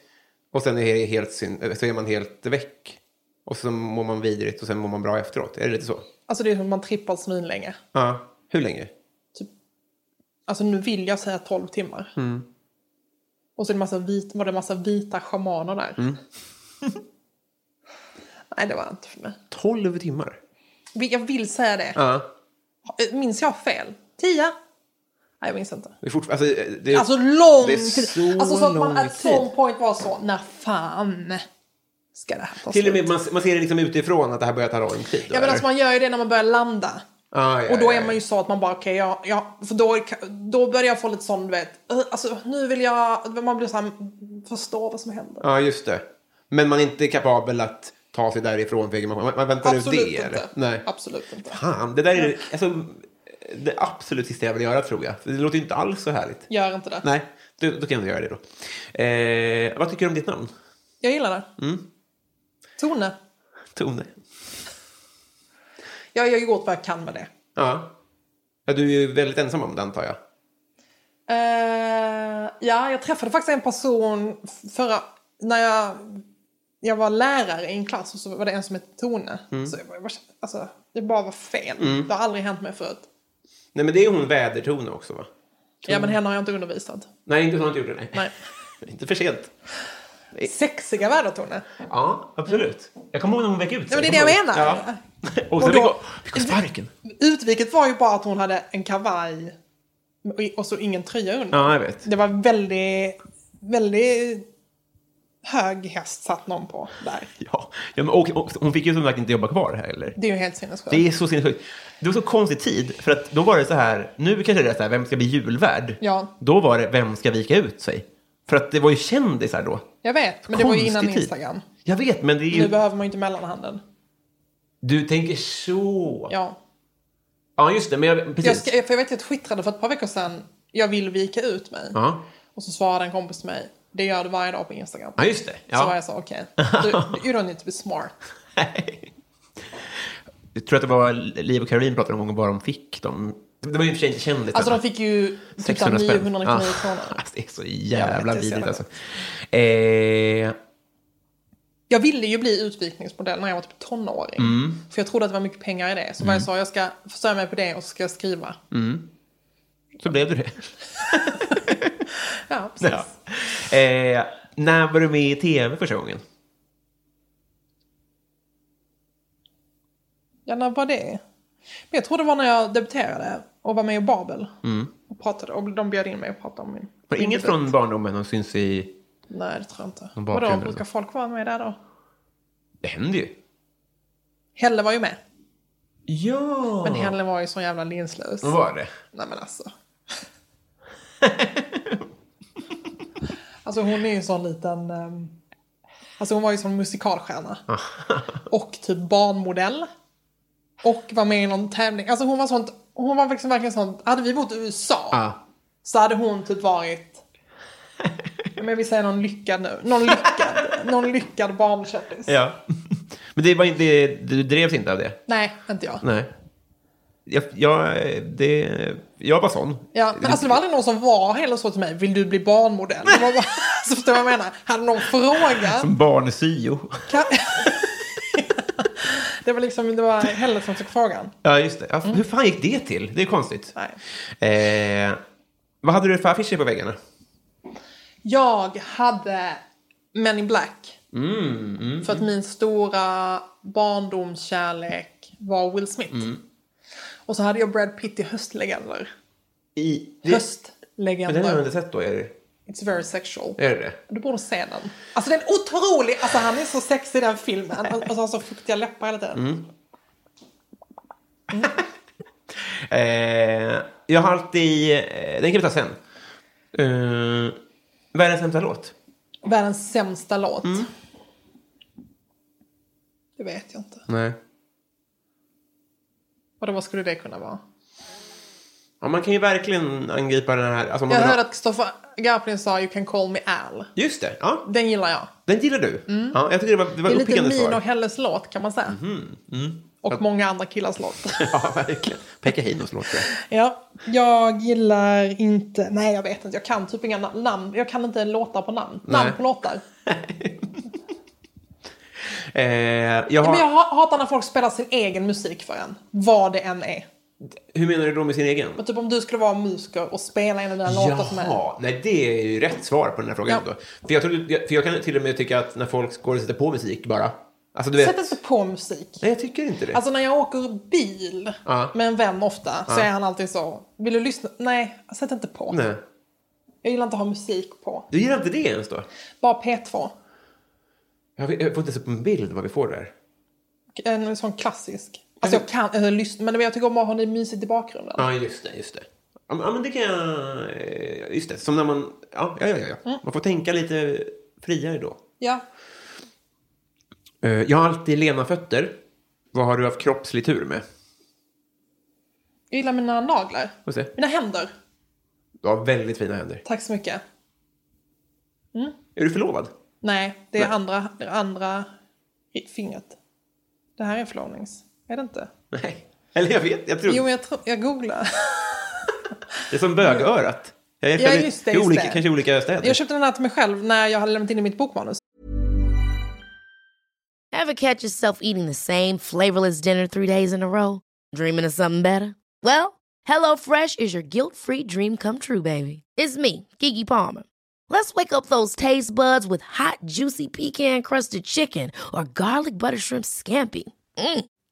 Och sen är, det helt syn... så är man helt väck. Och så mår man vidrigt och sen mår man bra efteråt. Är det lite så? Alltså det är som att man trippar svinlänge. Ja. Hur länge? Alltså nu vill jag säga 12 timmar. Mm. Och så är det massa vit, var det massa vita schamaner där. Mm. Nej, det var inte för mig. 12 timmar? Vi- Jag vill säga det. Ja. Minns jag fel? 10? Nej, jag minns inte. Det är fortfar- alltså, eh, det är... Alltså lång Det är tid. så Alltså så att man lång at tid. some point var så, när fan ska det här ta Till och slut? med man, man ser det liksom utifrån att det här börjar ta lång tid. då, Ja men alltså eller? man gör ju det när man börjar landa. Ah, ja, Och då ja, är man ju så att man bara okej, ja, ja, för då, då börjar jag få lite sån, du vet, eh, alltså nu vill jag, man blir så här, förstå vad som händer. Ja, just det. Men man är inte kapabel att ta sig därifrån för egen maskin. Man, man väntar ut det? Absolut Eller? inte. Nej. Absolut inte. Fan, det där är alltså, det absolut sista jag vill göra tror jag. För det låter ju inte alls så härligt. Gör inte det. Nej, då, då kan jag göra det då. Eh, vad tycker du om ditt namn? Jag gillar det. Mm. Tone. Tone? Jag jag har gjort vad jag kan med det. Ja. ja. Du är ju väldigt ensam om det antar jag. Eh, ja, jag träffade faktiskt en person f- förra... När jag, jag var lärare i en klass och så var det en som hette Tone. Mm. Så jag, bara- jag bara, alltså, det bara var fel. Det har aldrig hänt mig förut. Nej, men det är hon Vädertone också va? Ja, men henne har jag inte undervisat. Nej, inte så har du inte gjort det. Nej. Nej. inte för sent. Sexiga vädertoner. Ja, absolut. Jag kommer ihåg när hon väck ut Ja, men det är det jag menar. Ja. Och så Och fick då- hon- fick hon sparken. Utviket var ju bara att hon hade en kavaj och- och så ingen tröja under. Ja, jag vet. Det var väldigt, väldigt hög häst satt någon på där. Ja, ja men, och, och, hon fick ju som sagt inte jobba kvar här heller. Det är ju helt sinnessjukt. Det är så sinnessjukt. Det var så konstig tid, för att då var det så här, nu kanske det är så här, vem ska bli julvärd? Ja. Då var det, vem ska vika ut sig? För att det var ju kändisar då. Jag vet, men det var ju Konstig innan tid. Instagram. Jag vet, men det är Nu ju... behöver man ju inte mellanhanden. Du tänker så. Ja, Ja. just det, men jag, precis. Jag, ska, för jag vet att jag twittrade för ett par veckor sedan, jag vill vika ut mig. Ja. Och så svarade en kompis till mig, det gör du varje dag på Instagram. ja, just det. Så var Ja. jag så, okej. Du, you don't need to be smart. Jag tror att det var Liv och Caroline pratade någon gång bara om fick dem. Det var ju i och för sig inte kändisarna. Alltså de fick ju typ där 999 Ja. kronor. Alltså, det är så Jag jävla vet, det är så vidrigt jävla- alltså. Eh, Jag ville ju bli utvikningsmodell när jag var typ tonåring. Mm. För jag trodde att det var mycket pengar i det. Så var jag sa, jag ska förstöra mig på det och så ska jag skriva. Mm. så blev du det. Ja, precis. Ja. Eh, när var du med i tv första gången? Ja, när var det? Men jag tror det var när jag debuterade och var med i Babel. Mm. Och pratade, och de bjöd in mig och pratade om min... Var det min inget debut. från barndomen som syns i... Nej, det tror jag inte. Någon Vadå, bakgrund brukar eller folk vara med där då? Det händer ju. Helle var ju med. Ja! Men Helle var ju så jävla linslös. Vad var det? Nej men alltså. alltså hon är ju en sån liten... ehm, Alltså hon var ju sån musikalstjärna. och typ barnmodell. Och var med i någon tävling. Alltså hon var sånt... Hon var liksom verkligen sånt... Hade vi bott i USA Ja. så hade hon typ varit... Men jag vill säga någon lyckad nu. Någon lyckad, någon lyckad barnkändis. ja. Men det var inte, det, du drevs inte av det? Nej, inte jag. Nej. Jag, jag, det, jag var sån. Ja, men alltså det var aldrig någon som var heller så till mig, vill du bli barnmodell? Det var bara, så förstår jag vad jag menar? Hade någon frågat? Som barnsyo. Kan... det var liksom, det var heller som fick frågan. Ja, just det. Ja, Hur fan gick det till? Det är konstigt. Nej. Eh, vad hade du för affischer på väggarna? Jag hade Men in Black. Mm, för att min stora barndomskärlek var Will Smith. Mm. Och så hade jag Brad Pitt i Höstlegender. I, Men den har jag Höstlegender. inte sett då. Är det It's very sexual. är det? det? Du borde se den. Alltså den är otrolig! Alltså han är så sexig i den filmen. Alltså han har så fuktiga läppar hela tiden. Mm. Eh, jag har alltid... Eh, den kan vi ta sen. Eh, världens sämsta låt? Världens sämsta låt. Mm. Det vet jag inte. Nej. Vadå, vad skulle det kunna vara? Ja, man kan ju verkligen angripa den här... Alltså, om man Jag vill ha- hörde att Kristoffer Garplind sa You can call me Al. Just det. Ja, Den gillar jag. den gillar du. Ja, jag tycker det var, det var Mm. Det är lite uppiggande min svar. Mhm. Mm. och Helles låt kan man säga. Och många andra killars låt. Ja, verkligen. Pekka Heinos låt. tror jag. ja, jag gillar inte... Nej, jag vet inte. Jag kan typ inga na- namn. Jag kan inte låtar på namn. Namn på låtar. Eh, jag har... Men jag ha- hatar när folk spelar sin egen musik för en. Vad det än är. Hur menar du då med sin egen? Men typ om du skulle vara musiker och spela en av dina låtar för mig. Jaha, nej det är ju rätt svar på den här frågan Ja. då. För jag, tror, jag- för jag kan till och med tycka att när folk går och sätter på musik bara. Alltså du vet. Sätt inte på musik. Nej jag tycker inte det. Alltså när jag åker bil Ja. med en vän ofta så är han alltid så. Vill du lyssna? Nej, sätt inte på. nej. Jag gillar inte att ha musik på. Du gillar inte det ens då? Bara P2. Jag, vet- jag får inte ens upp en bild vad vi får där. En sån klassisk. Alltså jag kan eller, lyssna, men jag tycker om att ha det mysigt i bakgrunden. Ja just det, just det. Ja men ja, men det kan jag... eh, Just det, som när man... Ja, ja, ja. ja. Mm. Man får tänka lite friare då. Ja. Eh, Jag har alltid lena fötter. Vad har du haft kroppslig tur med? Jag gillar mina naglar. Får se. Mina händer. Du har väldigt fina händer. Tack så mycket. Är du förlovad? Nej, det är Nej. andra, det är andra i- fingret. Det här är flånings. Är det inte? Nej. Eller jag vet, jag tror... Jo, men jag, tror- jag googlar. Det är som bögörat. Jag är Ja, väldigt- just det, i just olika, det. Kanske i olika städer. Jag köpte den här till mig själv när jag hade lämnat in i mitt bokmanus. Ever catch yourself eating the same flavorless dinner three days in a row? Dreaming of something better? Well, HelloFresh is your guilt free dream come true, baby. It's me, Kiki Palmer. Let's wake up those taste buds with hot, juicy pecan crusted chicken or garlic butter shrimp scampi. Mm.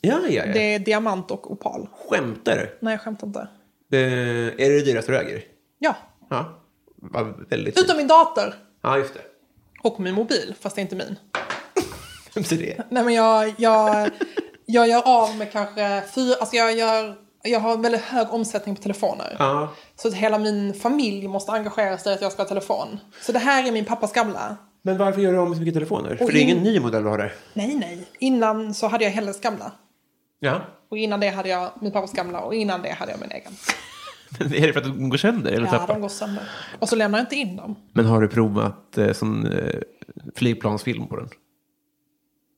Ja, ja, ja. Det är diamant och opal. Skämtar du? Nej, jag skämtar inte. Eh, är det det dyraste du äger? Ja, Ja. Vad väldigt fint. utom min dator. Ja, just det. Och min mobil, fast det är inte min. Vem ser det? Nej men jag, jag, jag gör av med kanske fyra, alltså jag, gör, jag har en väldigt hög omsättning på telefoner. Ja. Så att hela min familj måste engagera sig i att jag ska ha telefon. Så det här är min pappas gamla. Men varför gör du av med så mycket telefoner? För det är in- ingen ny modell du har där. Nej, nej. Innan så hade jag Helles gamla. Ja. Och innan det hade jag min pappas gamla och innan det hade jag min egen. Men är det för att de går sönder? Eller Ja, tappar? de går sönder. Och så lämnar jag inte in dem. Men har du provat eh, sån eh, flygplansfilm på den?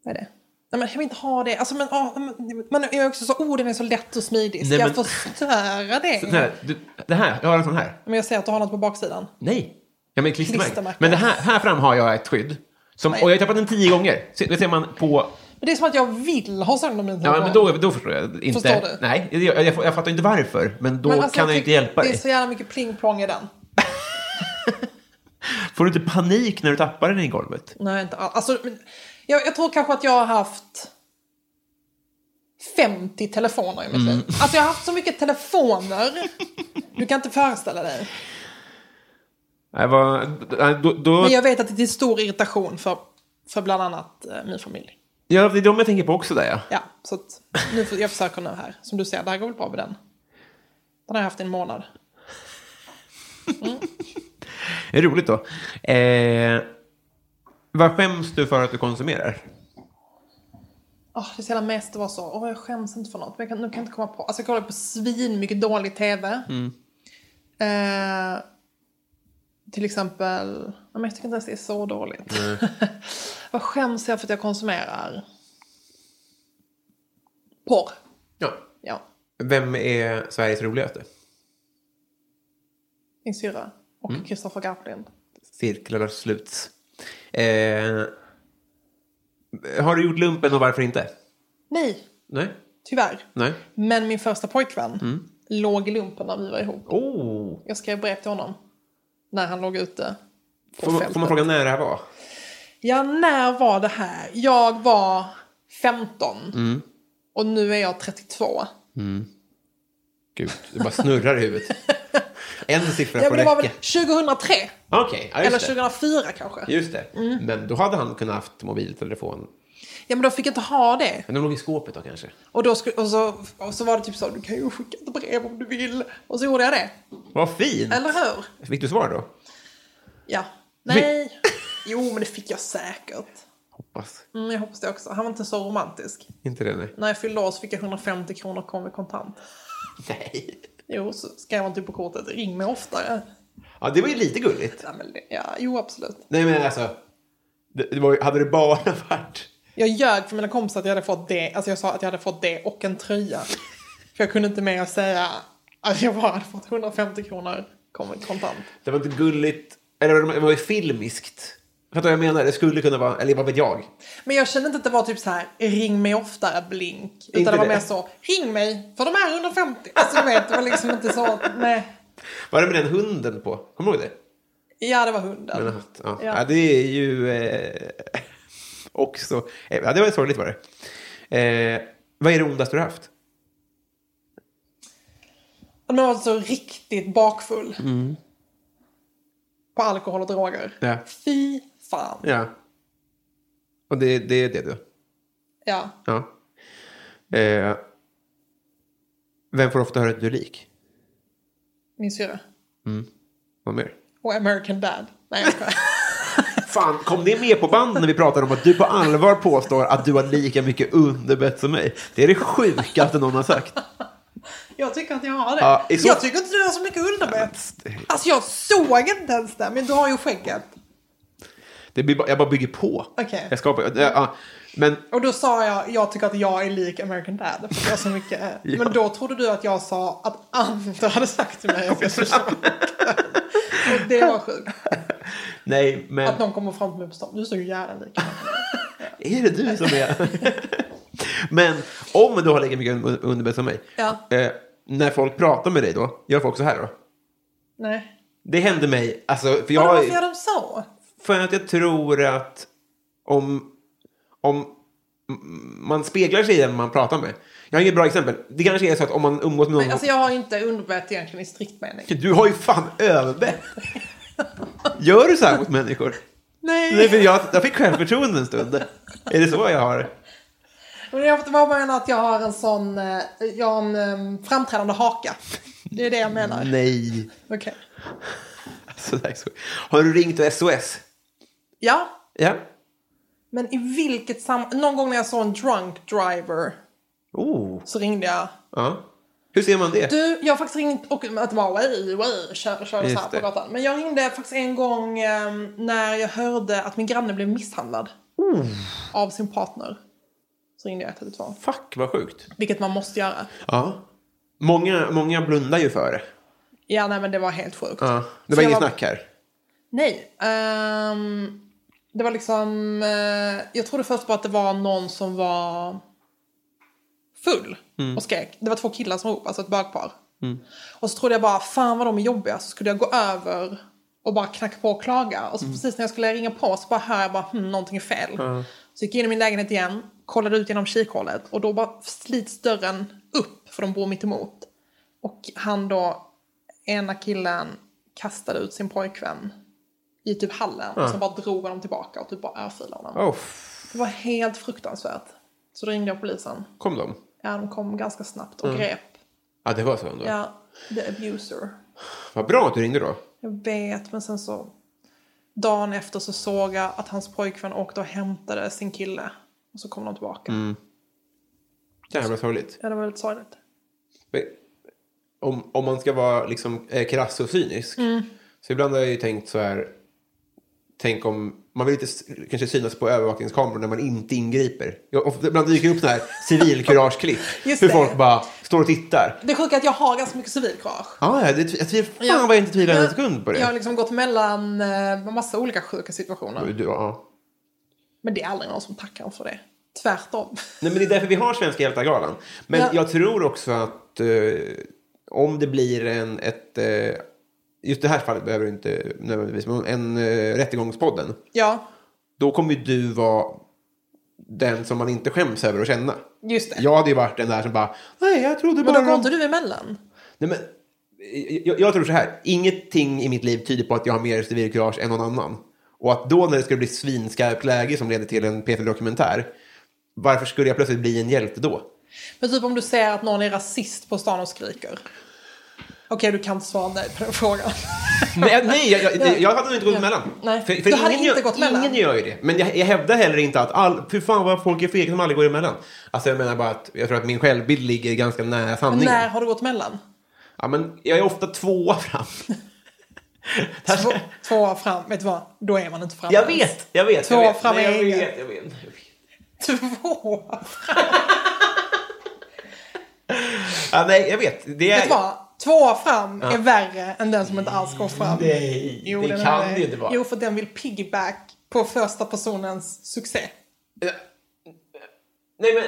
Vad är det? Nej, men jag vill inte ha det. Alltså, men, ah, men, men jag är också så, oh den är så lätt och smidig. Ska Nej, jag men- förstöra Den det? här, du, det här, jag har en sån här. Men jag ser att du har något på baksidan. Nej. Ja, men klistermärken. Klistermärken. Men det här, här fram har jag ett skydd. Som, och jag har tappat den tio gånger. Se- Det ser man på... Men det är som att jag vill ha sönder mina Ja, men då, då förstår jag inte. Förstår du? Nej, jag, jag, jag, jag fattar inte varför. Men då Men alltså, kan jag ju tycker inte hjälpa Det dig. är så jävla mycket pling-plong i den. Får du inte panik när du tappar den i golvet? Nej, inte alls. Alltså, men, jag, jag tror kanske att jag har haft 50 telefoner i mitt Mm. liv. Alltså jag har haft så mycket telefoner. Du kan inte föreställa dig. Nej, vad, nej, då, då, Men jag vet att det är till stor irritation för, för bland annat eh, min familj. ja, det är de jag tänker på också där, ja. Ja, så att nu får, jag försöker nu här. Som du ser, det här går väl bra med den. Den har jag haft i en månad. Det är roligt då. Eh, vad skäms du för att du konsumerar? Åh, Ah, det är så jävla mest att vara så, åh jag skäms inte för något. Men jag kan, nu kan jag inte komma på. Alltså jag kollar på svin mycket dålig tv. Eh, till exempel, nej, men jag tycker inte ens det är så dåligt. Vad skäms jag för att jag konsumerar? Porr. Ja. Ja, Vem är Sveriges roligaste? min syrra. Och Kristoffer Garplind. Cirklar sluts. Eh, har du gjort lumpen och varför inte? Nej, Nej. tyvärr. Nej. Men min första pojkvän Mm. låg i lumpen när vi var ihop. Oh. Jag skrev brev till honom. När han låg ute. på Får, man- fältet. får man fråga när det här var? Ja, när var det här? Jag var 15. Mm. Och nu är jag 32. Gud, det bara snurrar i huvudet. En siffra Ja, får men det var väl räcka. 2003? Okej, ja, Eller Mm. just det. 2004 kanske? Just det. Men då hade han kunnat haft mobiltelefon. Ja, men då fick jag inte ha det. Men de låg i skåpet då kanske? Och, då skulle, och, så, och så var det typ så, du kan ju skicka ett brev om du vill. Och så gjorde jag det. Vad fint! Eller hur? Fick du svar då? Ja. Nej. Jo, men det fick jag säkert. Hoppas. Mm, jag hoppas det också. Han var inte så romantisk. Inte det, nej. När jag fyllde år så fick jag 150 kronor kom i kontant. Nej. Jo, så skrev han typ på kortet, ring mig oftare. Ja, det var ju lite gulligt. Ja, men det, ja, jo, absolut. Nej, men alltså. Det, det var, ju- hade det bara varit... Jag ljög för mina kompisar att jag hade fått det. Alltså jag sa att jag hade fått det och en tröja. För jag kunde inte mer att säga att jag bara hade fått 150 kronor kom- kontant. Det var inte gulligt. Eller det var ju filmiskt. Fattar du vad jag menar? Det skulle kunna vara... Eller vad vet jag? Men jag kände inte att det var typ så här ring mig oftare blink. Utan Inte det var det. mer så ring mig för de är 150. Alltså du vet, det var liksom inte så nej. Var det med den hunden på? Kommer du ihåg det? Ja, det var hunden. Men, att- ja. Ja. Ja. det är ju eh, också... eh, Ja, det var ju sorgligt var det. Eh, vad är det ondaste du har haft? Men man var så riktigt bakfull. Mm. På alkohol och droger. Ja. Fy fan. Ja. Och det, det är det du. Ja. Ja. Eh, vem får ofta höra att du är lik? Min syrra. Vad mer? Och American Dad. Nej, jag skojar. Fan, kom det med på band när vi pratade om att du på allvar påstår att du har lika mycket underbett som mig? Det är det sjukaste någon har sagt. Jag tycker att jag har det. Ja, i så- Jag tycker inte du har så mycket underbett. Alltså jag såg inte ens det, men du har ju skägget. Det blir, bara- jag bara bygger på. Okej. Jag skapar, ja, ja. men Och då sa jag, jag tycker att jag är lik American Dad. För att jag har så mycket. Ja. Men då trodde du att jag sa att andra hade sagt till mig att jag skulle köpa Och det var sjukt. nej, men Att någon kommer fram till mig på stan. Du är så jävla lik. är det du som är... men om du har lika mycket un- underbett som mig, Ja. eh, när folk pratar med dig då, gör folk så här då? Nej. Det hände mig, alltså, för jag... Men varför gör de så? För att jag tror att om, om man speglar sig i den man pratar med. Jag har inget bra exempel. Det kanske är så att om man umgås med någon... Nej, alltså jag har inte underbett egentligen i strikt mening. Du har ju fan överbett! Gör du så här mot människor? Nej, för jag, jag fick självförtroende en stund. Är det så jag har det? Men jag vad menar att jag har en sån, eh, jag har en em, framträdande haka. Det är det jag menar. Mm. Nej. Okej. Alltså, det här är så. Har du ringt SOS? Ja, Ja. men i vilket sammanhang, någon gång när jag såg en drunk driver Oh. så ringde jag. Ja. Hur ser man det? Du, jag har faktiskt ringt och att det var way, way, kör, kör så Just här på det. gatan. Men jag ringde faktiskt en gång em, när jag hörde att min granne blev misshandlad. Av sin partner. Så ringde jag 112. Fuck, vad sjukt. Vilket man måste göra. Ja. Många, många blundar ju för det. Ja, nej men det var helt sjukt. Ja. Det Så var jag inget snack här. Nej. ehm, det var liksom... eh, jag trodde först bara att det var någon som var full och skrek. Det var två killar som ropade, alltså ett bögpar. Och så trodde jag bara, fan vad de är jobbiga. Så skulle jag gå över och bara knacka på och klaga. Och så precis när jag skulle ringa på så bara hör jag bara, hm, någonting är fel. Så gick jag in i min lägenhet igen, kollade ut genom kikhålet. Och då bara slits dörren upp, för de bor mitt emot. Och han då, ena killen kastade ut sin pojkvän i typ hallen. Och sen bara drog honom tillbaka och typ bara örfilade honom. Oh, Det var helt fruktansvärt. Så då ringde jag polisen. kom de? Ja, de kom ganska snabbt och grep. Mm. Ja, det var så ändå. Ja, the abuser. Vad bra att du ringde då. Jag vet, men sen så... Dagen efter så såg jag att hans pojkvän åkte och hämtade sin kille. Och så kom de tillbaka. Mm. Jävla sorgligt. Ja, det var väldigt sorgligt. Men Om, om man ska vara liksom eh, krass och cynisk. Mm. Så ibland har jag ju tänkt så här. Tänk om man vill inte s- kanske synas på övervakningskameror när man inte ingriper. Jag, ofta, ibland dyker det upp sådana här civilkurageklipp. Just hur det. folk bara står och tittar. Det sjuka är att jag har ganska mycket civilkurage. Ah, ja, det, tv- jag tvivlar fan vad jag inte tvivlar en sekund på det. Jag har liksom gått mellan eh, massa olika sjuka situationer. Du, ja. Men det är aldrig någon som tackar för det. Tvärtom. Nej, men det är därför vi har Svenska hjältar-galan. Men Ja. jag tror också att eh, om det blir en, ett, eh, just det här fallet behöver du inte nödvändigtvis, men en eh, Rättegångspodden, Ja, då kommer ju du vara den som man inte skäms över att känna. just det. Jag hade ju varit den där som bara, nej jag trodde men bara... då går de-" inte du emellan. Nej, men, eh, jag, jag tror så här, ingenting i mitt liv tyder på att jag har mer civilkurage än någon annan. Och att då när det skulle bli svinskarpt läge som leder till en P4-dokumentär, varför skulle jag plötsligt bli en hjälte då? Men typ om du ser att någon är rasist på stan och skriker. Okej, du kan inte svara nej på den frågan. Nej, nej jag, jag, jag hade nog inte gått emellan. Nej, du hade ingen inte gör, gått emellan. Ingen gör ju det. Men jag, jag hävdar heller inte att all, fy fan vad folk är fega som aldrig går emellan. Alltså jag menar bara att jag tror att min självbild ligger ganska nära sanningen. När har du gått emellan? Ja, men jag är ofta tvåa fram. Här ska- Två, tvåa fram, vet du vad? Då är man inte framme. Alltså- jag vet, jag vet. Tvåa jag vet. fram Nej, är jag ingen. vet, jag vet, jag vet. Tvåa fram. Ja, nej, jag vet. Det är... Vet du vad? Tvåa fram är värre än den som inte alls går fram. Nej, Jo, Mm, det den är kan det ju inte vara. Jo, för den vill piggyback på första personens succé. Nej, men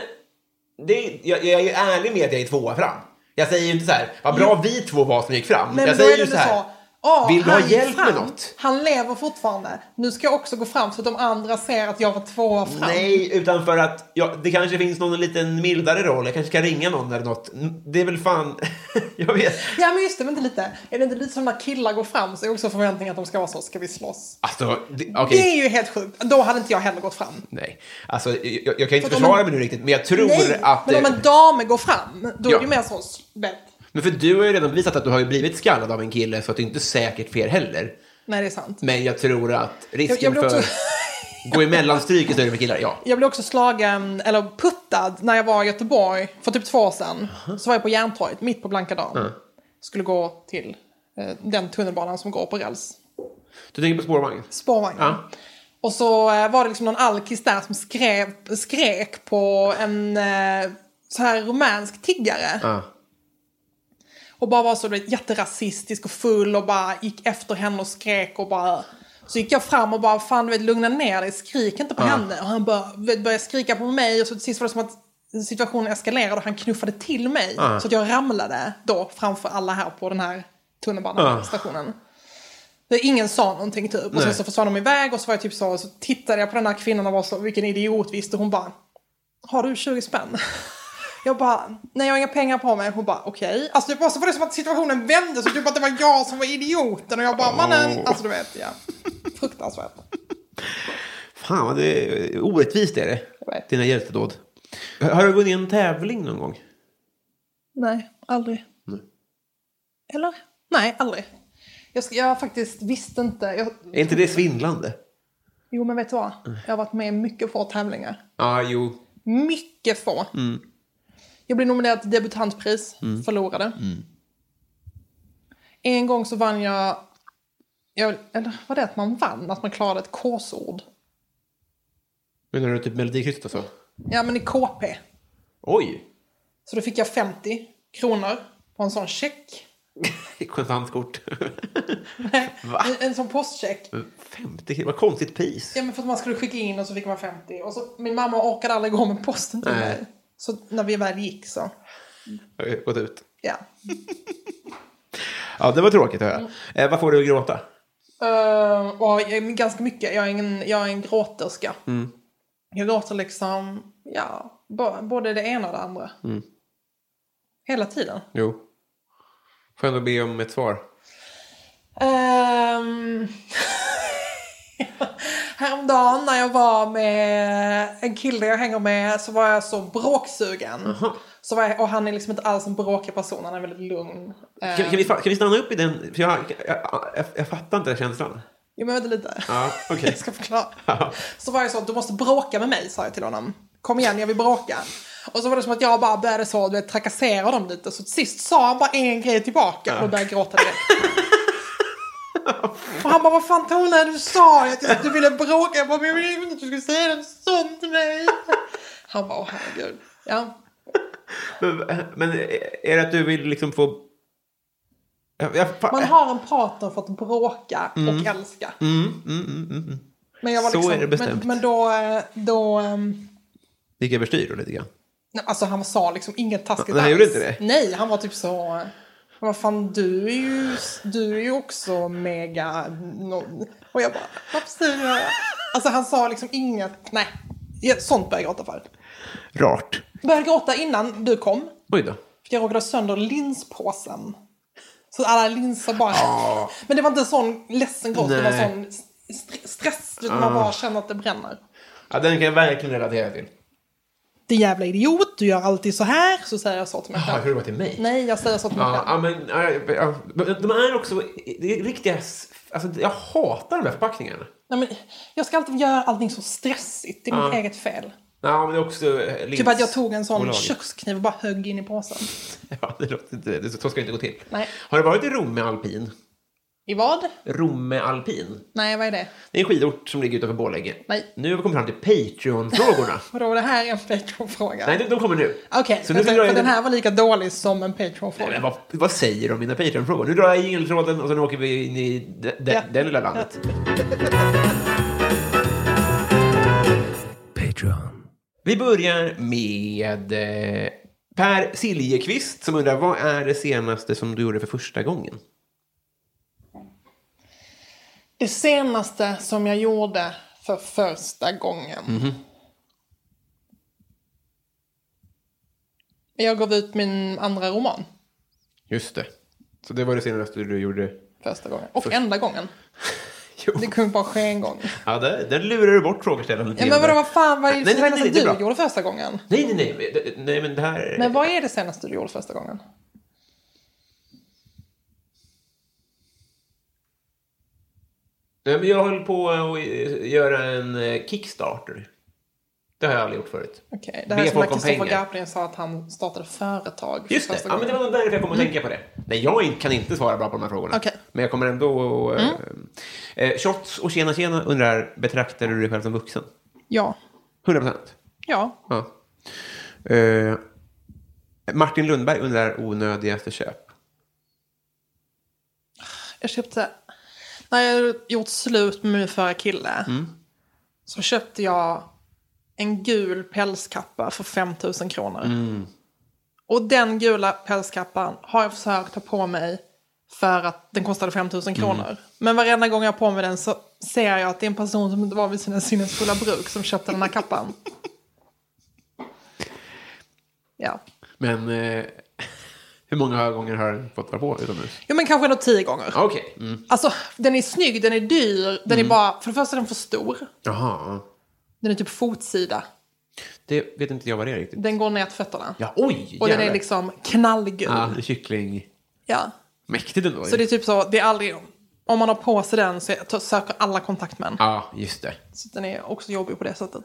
det är, jag, jag är ju ärlig med att jag är tvåa fram. Jag säger ju inte så här, vad bra vi två var som gick fram. Nej, jag men då säger är ju det så här. så. Åh, Vill du ha han hjälp med fann. något? Han lever fortfarande. Nu ska jag också gå fram så att de andra ser att jag var tvåa fram. Nej, utan för att ja, det kanske finns någon liten mildare roll. Jag kanske ska ringa någon eller något. N- Det är väl fan... jag vet. Ja men just det, vänta lite. Är det inte lite som när killar går fram så är också förväntningen att de ska vara så, ska vi slåss? Alltså, det- okej. Det är ju helt sjukt. Då hade inte jag heller gått fram. Nej, alltså jag, jag kan inte För att om försvara en- mig nu riktigt, men jag tror Nej, att... men om en dame går fram, då Ja. är det ju mer så, bet. Men för du har ju redan visat att du har ju blivit skallad av en kille, så att det är inte säkert fel heller. Nej det är sant. Men jag tror att Jag, risken jag blev också... för gå emellan stryk är större för killar, ja. Jag blev också slagen, eller puttad, när jag var i Göteborg för typ två år sedan. Så var jag på Järntorget, mitt på blanka dagen. Skulle gå till eh, den tunnelbanan som går på räls. Du tänker på spårvagn? Spårvagnen. Ja. Och så eh, var det liksom någon alkis där som skrev, skrek på en eh, så här rumänsk tiggare. Ja. Och bara var så du vet, jätterasistisk och full och bara gick efter henne och skrek och bara... Så gick jag fram och bara, fan du vet, lugna ner dig, skrik inte på henne. Och han bara, du vet, började skrika på mig och så till sist var det som att situationen eskalerade och han knuffade till mig. Så att jag ramlade då framför alla här på den här tunnelbanestationen. Det- Ingen sa någonting typ. Och sen Nej. så försvann de iväg och så var jag typ så, och så tittade jag på den här kvinnan och var så, vilken idiot visst. Och hon bara, har du 20 spänn? Jag bara, nej jag har inga pengar på mig. Hon bara, okej. Alltså det var, så var det som att situationen vände, så typ att det var jag som var idioten. Och jag bara, mannen. Alltså du vet, ja. Fruktansvärt. Fan, vad det är orättvist är det. Jag vet. Dina hjältedåd. Har du gått in i en tävling någon gång? Nej, aldrig. Nej. Eller? Nej, aldrig. Jag, ska, jag faktiskt visste inte. Jag, Är inte det svindlande? jo men vet du vad? Jag har varit med i mycket få tävlingar. Ja, jo. Mycket få. Mm. Jag blev nominerad till debutantpris, förlorade. Mm. En gång så vann jag, jag, eller var det att man vann? Att man klarade ett korsord? Menar du typ Melodikrysset alltså? Ja men i KP. Oj! Så då fick jag 50 kronor på en sån check. Kontantkort. Va? En, en sån postcheck. 50 kronor, vad konstigt pris. Ja men för att man skulle skicka in och så fick man 50. Och så, min mamma orkade aldrig gå med posten till Nej. mig. Så när vi väl gick så, Har jag Gått ut. ja. Ja, det var tråkigt att höra. Mm. Eh, vad får du att gråta? Uh, och jag, ganska mycket. Jag är en, jag är en gråterska. Jag gråter liksom, ja, b- både det ena och det andra. Hela tiden. Jo. Får jag ändå be om ett svar? Eh. Um, häromdagen när jag var med en kille jag hänger med så var jag så bråksugen. Så var jag, och han är liksom inte alls en bråkig person, han är väldigt lugn. Eh, Kan, kan, vi, fa- kan vi stanna upp i den? För jag, jag, jag, jag fattar inte den känslan. Jo men vänta lite. Ja, okej. Jag ska förklara. Så var jag så, du måste bråka med mig, sa jag till honom. Kom igen, jag vill bråka. Och så var det som att jag bara började så, du vet, trakassera dem lite. Så till sist sa han bara en grej tillbaka och då började jag gråta direkt. Och han bara, vad fan Tone, du sa ju att du ville bråka. Jag bara, men jag ville inte att du skulle säga något sånt till mig. Han bara, åh herregud. Ja. Men, men är det att du vill liksom få... Jag, jag, fa- Man har en partner för att bråka och älska. Äh. mm, mm, mm, mm, mm. Men jag var Så liksom, är det bestämt. Men, men då, eh, då ehm, Det gick överstyr då lite grann. Nej, alltså han sa liksom inget taskigt Nej, han alls. gjorde inte det? Nej, han var typ så... Vad fan, du är ju, du är ju också mega... No. Och jag bara, varför säger jag? Alltså han sa liksom inget. Nej, Ja, sånt började jag gråta för. Rart. Började gråta innan du kom. Oj då. För jag råkade ha sönder linspåsen. Så alla linser bara... Men det var inte en sån ledsen gråt, det var Ah. Nej. Ah. en sån st- stress. du vet, Man bara känner att det bränner. Ja, den kan jag verkligen relatera till. Det jävla idiot, du gör alltid så här. Så säger jag så till mig Ja, jag tror själv. det var till mig. Nej, jag säger så till mig Ja, själv. ja, men, ja, ja, men de är också det är riktiga... s- Alltså, jag hatar de här förpackningarna. Nej, men jag ska alltid göra allting så stressigt. Det är mitt Ja. eget fel. Ja, men det är också... eh, Typ att jag tog en sån bolaget. kökskniv och bara högg in i påsen. Ja, det låter inte... det- Så ska det inte gå till. Nej. Har du varit i Romme alpin? I vad? Romme alpin? Nej, vad är det? Det är en skidort som ligger utanför Borlänge. Nej. Nu har vi kommit fram till Patreon-frågorna. Vadå, det här är en Patreon-fråga? Nej, de, de kommer nu. Okej, Så nu vänta, drar jag för in- den här var lika dålig som en Nej, men Patreon-fråga. vad, vad säger de om mina Patreon-frågor? Nu drar jag jingeltråden och sen åker vi in i de, de, Ja. den lilla landet. Patreon. Vi börjar med eh, Per Siljeqvist som undrar vad är det senaste som du gjorde för första gången? Det senaste som jag gjorde för första gången. Mhm. Jag gav ut min andra roman Just det. Så det var det senaste du gjorde. första gången. Och enda gången. Det kunde bara ske en gång. Ja, där, där lurar du bort frågeställaren lite Ja, men grann vadå, där. vad fan, vad är Nej, det nej, nej, senaste nej, det är du bra. gjorde första gången? Nej, nej, nej. men det- Nej, men det här... Men vad är det senaste du gjorde första gången? Nej, men jag höll på att göra en eh, Kickstarter. Det har jag aldrig gjort förut. Okej, det här Be är som när folk om Kristoffer pengar. Garplind sa att han startade företag för Just det, första ja, men det gången. var därför jag kom att tänka på det. Nej, jag in- kan inte svara bra på de här frågorna. Mm. Okej. Mm. Men jag kommer ändå... eh, Eh, shots och tjena tjena undrar, betraktar du dig själv som vuxen? Ja, 100 procent. ja. Ja. Eh, Martin Lundberg undrar onödigaste köp. Jag köpte... När jag gjort slut med min förra kille så köpte jag en gul pälskappa för 5 000 kronor. Och den gula pälskappan har jag försökt ta på mig för att den kostade 5 000 kronor. Men varenda gång jag har på mig den så ser jag att det är en person som inte var vid sina sinnesfulla bruk som köpte den här kappan. Ja. Men eh, hur många gånger har den fått vara på utomhus? Jo men kanske ändå tio gånger. Okej. Mm. Alltså den är snygg, den är dyr, den är bara, för det första är den för stor. Jaha. Den är typ fotsida. Det vet inte jag vad det är riktigt. Den går ner till fötterna. Ja, oj! och den är jävlar. liksom knallgul. Ja, Ja. det är kyckling. Mäktigt ändå. Så det är typ så, det är aldrig, om man har på sig den så t- söker alla kontakt med den. Ja, just det. Så den är också jobbig på det sättet.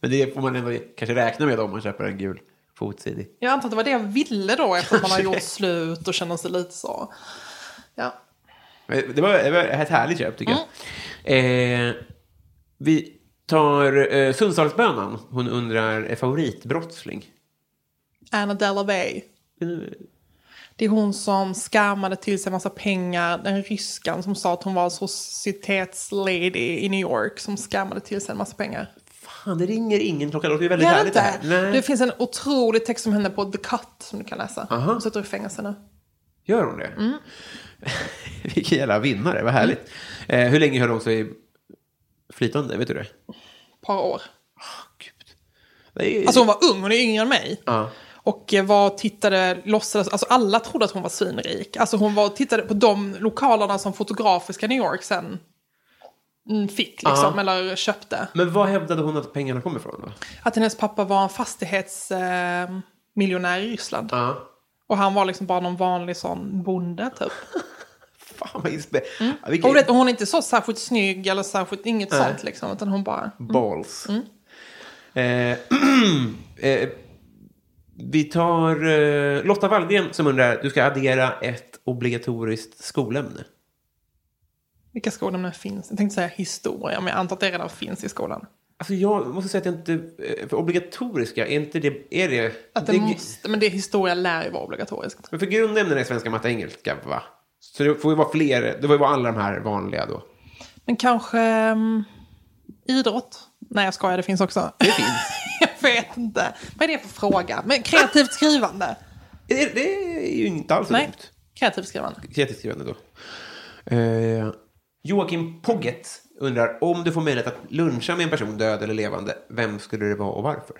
Men det får man ändå kanske räkna med om man köper en gul fotsidig. Jag antar att det var det jag ville då efter att man har gjort slut och känner sig lite så. Ja. Men Det var, det var ett härligt köp tycker jag. Eh, vi tar eh, Sundsvallsbönan. Hon undrar eh, favoritbrottsling. Anna Delaway. Det är hon som skammade till sig massa pengar. Den ryskan som sa att hon var en societetslady i New York som skammade till sig en massa pengar. Fan, det ringer ingen klocka. Det låter ju väldigt Gör det härligt det inte? här. Det, Nej. finns en otrolig text om henne på The Cut som du kan läsa. Hon sitter i fängelse nu. Gör hon det? Vilken jävla vinnare, vad härligt. Eh, hur länge höll hon sig flytande, vet du det? Ett par år. Gud. Det är, Alltså hon var ung, hon är yngre än mig. Ja. Och eh, var och tittade, låtsades, alltså alla trodde att hon var svinrik. Alltså hon var och tittade på de lokalerna som Fotografiska New York sen mm, fick liksom, eller köpte. Men vad hävdade hon att pengarna kom ifrån då? Att hennes pappa var en fastighetsmiljonär eh, miljonär i Ryssland. Ja. Och han var liksom bara någon vanlig sån bonde typ. Fan vad inspirerande. Ja, vilken- Och du vet, hon är inte så särskilt snygg eller särskilt inget sånt liksom. Utan hon bara... Balls. Mm. Eh, eh, vi tar eh, Lotta Wallgren som undrar, du ska addera ett obligatoriskt skolämne. Vilka skolämnen finns? Jag tänkte säga historia, men jag antar att det redan finns i skolan. Alltså jag måste säga att jag inte, eh, för obligatoriska, är inte det, är det? Att det det måste, men det historia lär ju vara obligatoriskt. Men för grundämnen är svenska, matte, engelska va? Så det får ju vara fler, det får ju vara alla de här vanliga då. Men kanske ehm, idrott? Nej, jag skojar, det finns också. Det finns. jag vet inte. Vad är det för fråga? Men kreativt skrivande? Det, det är ju inte alls så Nej, dumt. kreativt skrivande. Kreativt skrivande då. Eh, Joakim Pogget undrar om du får möjlighet att luncha med en person, död eller levande, vem skulle det vara och varför?